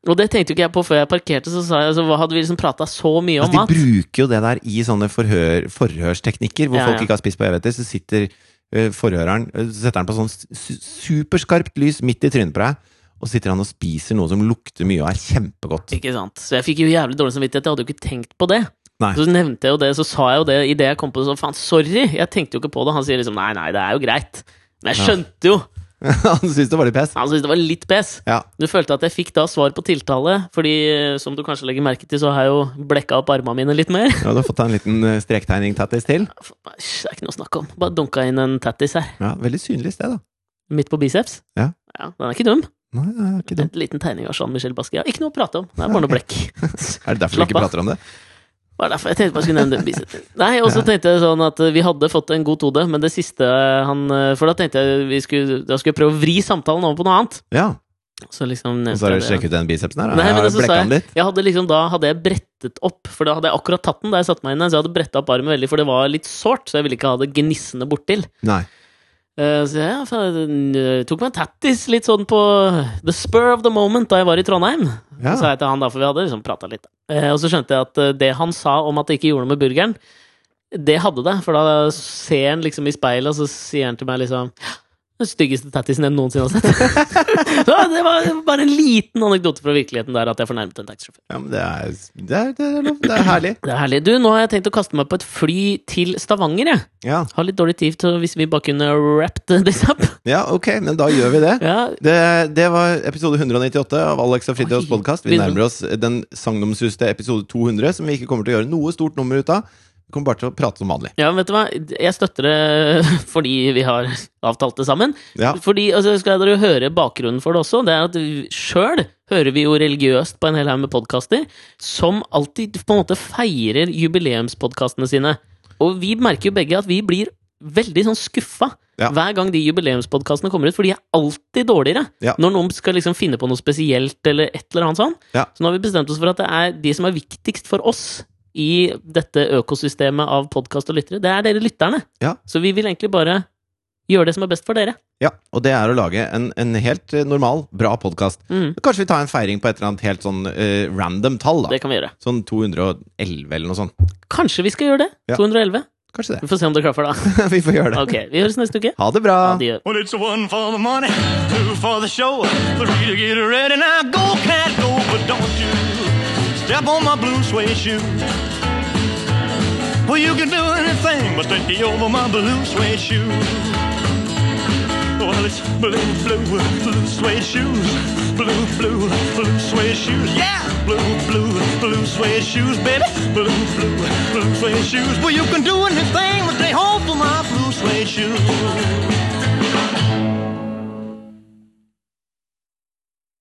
[SPEAKER 1] Og det tenkte jo ikke jeg på før jeg parkerte, så sa jeg altså, hva hadde vi liksom prata så mye om
[SPEAKER 2] Altså,
[SPEAKER 1] mat?
[SPEAKER 2] de bruker jo det der i sånne forhør, forhørsteknikker hvor
[SPEAKER 1] Ja, ja.
[SPEAKER 2] folk ikke har spist på evigheter. Så sitter eh, forhøreren eh, så setter han på sånn su superskarpt lys midt i trynet på deg, og så sitter han og spiser noe som lukter mye og er kjempegodt. [LAUGHS]
[SPEAKER 1] Ikke sant? Så jeg fikk jo jævlig dårlig samvittighet, jeg hadde jo ikke tenkt på det.
[SPEAKER 2] Nei.
[SPEAKER 1] Så nevnte jeg jo det, så sa jeg jo det idet jeg kom på det, så faen, sorry, jeg tenkte jo ikke på det. Han sier liksom nei, nei, det er jo greit. Men jeg skjønte jo!
[SPEAKER 2] han syns det var litt pes.
[SPEAKER 1] Han syntes det var litt pes.
[SPEAKER 2] Ja.
[SPEAKER 1] Du følte at jeg fikk da svar på tiltale, fordi eh, som du kanskje legger merke til, så har jeg jo blekka opp armene mine litt mer. [LAUGHS]
[SPEAKER 2] ja, du har fått deg en liten eh, strektegning tattis til.
[SPEAKER 1] F- æsj, Det er ikke noe å snakke om. Bare dunka inn en tattis her,
[SPEAKER 2] Ja, Veldig synlig sted, da.
[SPEAKER 1] midt på biceps.
[SPEAKER 2] Ja.
[SPEAKER 1] Den er ikke dum.
[SPEAKER 2] Nei, det er ikke
[SPEAKER 1] En
[SPEAKER 2] dumt.
[SPEAKER 1] liten tegning av Jean-Michel Basquiat. Ikke noe å prate om. Det er bare [LAUGHS] noe blekk.
[SPEAKER 2] Er det derfor du
[SPEAKER 1] Slapp
[SPEAKER 2] ikke
[SPEAKER 1] av.
[SPEAKER 2] prater om det?
[SPEAKER 1] Bare derfor jeg tenkte bare skulle nevne den biceps. Nei, og så tenkte jeg sånn at eh, vi hadde fått en god tode, men det siste han eh, For da tenkte jeg vi skulle, da skulle jeg prøve å vri samtalen over på noe annet.
[SPEAKER 2] Ja.
[SPEAKER 1] Så
[SPEAKER 2] Og
[SPEAKER 1] liksom nevnte
[SPEAKER 2] så har
[SPEAKER 1] jeg
[SPEAKER 2] du
[SPEAKER 1] det.
[SPEAKER 2] sjekket ut den bicepsen her? da.
[SPEAKER 1] Nei, men
[SPEAKER 2] Jeg har
[SPEAKER 1] det så sa
[SPEAKER 2] blekka den
[SPEAKER 1] jeg,
[SPEAKER 2] litt.
[SPEAKER 1] jeg hadde liksom, da hadde jeg brettet opp, for da hadde jeg akkurat tatt den da jeg satte meg inn der, så jeg hadde brettet opp armen veldig, for det var litt sårt, så jeg ville ikke ha det gnissende bortil.
[SPEAKER 2] Nei.
[SPEAKER 1] Eh, Så jeg ja, faen, jeg tok meg en tattis litt sånn på the spur of the moment da jeg var i Trondheim.
[SPEAKER 2] Ja.
[SPEAKER 1] Så sa jeg til han da, for vi hadde liksom pratet litt. Eh, Og så skjønte jeg at eh, det han sa om at det ikke gjorde noe med burgeren, det hadde det, for da ser han liksom i speilet, og så sier han til meg liksom den styggeste tattisen jeg noensinne har sett. [LAUGHS] Så det var bare en liten anekdote fra virkeligheten der at jeg fornærmet en taxisjåfør.
[SPEAKER 2] Ja, men det er, det er, det er, lov. det er herlig.
[SPEAKER 1] Det er herlig. Du, nå har jeg tenkt å kaste meg på et fly til Stavanger, jeg.
[SPEAKER 2] Ja.
[SPEAKER 1] Har litt dårlig tid til hvis vi bare kunne wrapped this up. [LAUGHS]
[SPEAKER 2] ja, ok, men da gjør vi det.
[SPEAKER 1] Ja,
[SPEAKER 2] Det, det var episode 198 av Alex og Fridtjofs
[SPEAKER 1] Oi.
[SPEAKER 2] podkast. Vi
[SPEAKER 1] Begynner-
[SPEAKER 2] nærmer oss den sagnomsuste episode 200, som vi ikke kommer til å gjøre noe stort nummer ut av. Vi kommer bare til å prate som vanlig.
[SPEAKER 1] ja, men vet du hva? Jeg støtter det [LAUGHS] fordi vi har avtalt det sammen.
[SPEAKER 2] Ja.
[SPEAKER 1] Fordi, altså, skal dere jo høre bakgrunnen for det også, det er at sjøl hører vi jo religiøst på en hel haug med podkaster som alltid på en måte feirer jubileumspodkastene sine. Og vi merker jo begge at vi blir veldig sånn skuffa
[SPEAKER 2] Ja.
[SPEAKER 1] hver gang de jubileumspodkastene kommer ut, for de er alltid dårligere.
[SPEAKER 2] Ja.
[SPEAKER 1] Når noen skal liksom finne på noe spesielt eller et eller annet sånn.
[SPEAKER 2] Ja.
[SPEAKER 1] Så nå har vi bestemt oss for at det er de som er viktigst for oss i dette økosystemet av podkast og lyttere, det er dere lytterne.
[SPEAKER 2] Ja.
[SPEAKER 1] Så vi vil egentlig bare gjøre det som er best for dere.
[SPEAKER 2] ja, Og det er å lage en, en helt eh, normal, bra podkast.
[SPEAKER 1] Mm.
[SPEAKER 2] Kanskje vi tar en feiring på et eller annet helt sånn eh, random tall, da.
[SPEAKER 1] Det kan vi gjøre.
[SPEAKER 2] Sånn 211 eller noe sånt.
[SPEAKER 1] Kanskje vi skal gjøre det?
[SPEAKER 2] Ja.
[SPEAKER 1] 211?
[SPEAKER 2] Kanskje [LAUGHS] det.
[SPEAKER 1] Vi får se om det klaffer, da.
[SPEAKER 2] vi får gjøre det.
[SPEAKER 1] Ok, vi høres neste uke.
[SPEAKER 2] Ha det bra!
[SPEAKER 1] Adjø.
[SPEAKER 3] Well, it's a one for the money, two for the show, three to get her ready. Now go, cat, go, but don't you step on my blue suede shoe. Well, you can do anything but take me over my blue suede shoe. Well, it's blue, blue, blue suede shoes. Blue, blue, blue suede shoes. Yeah! Blue, blue, blue suede shoes, baby. Blue, blue, blue suede shoes. Well, you can do anything but stay home for my blue suede shoes.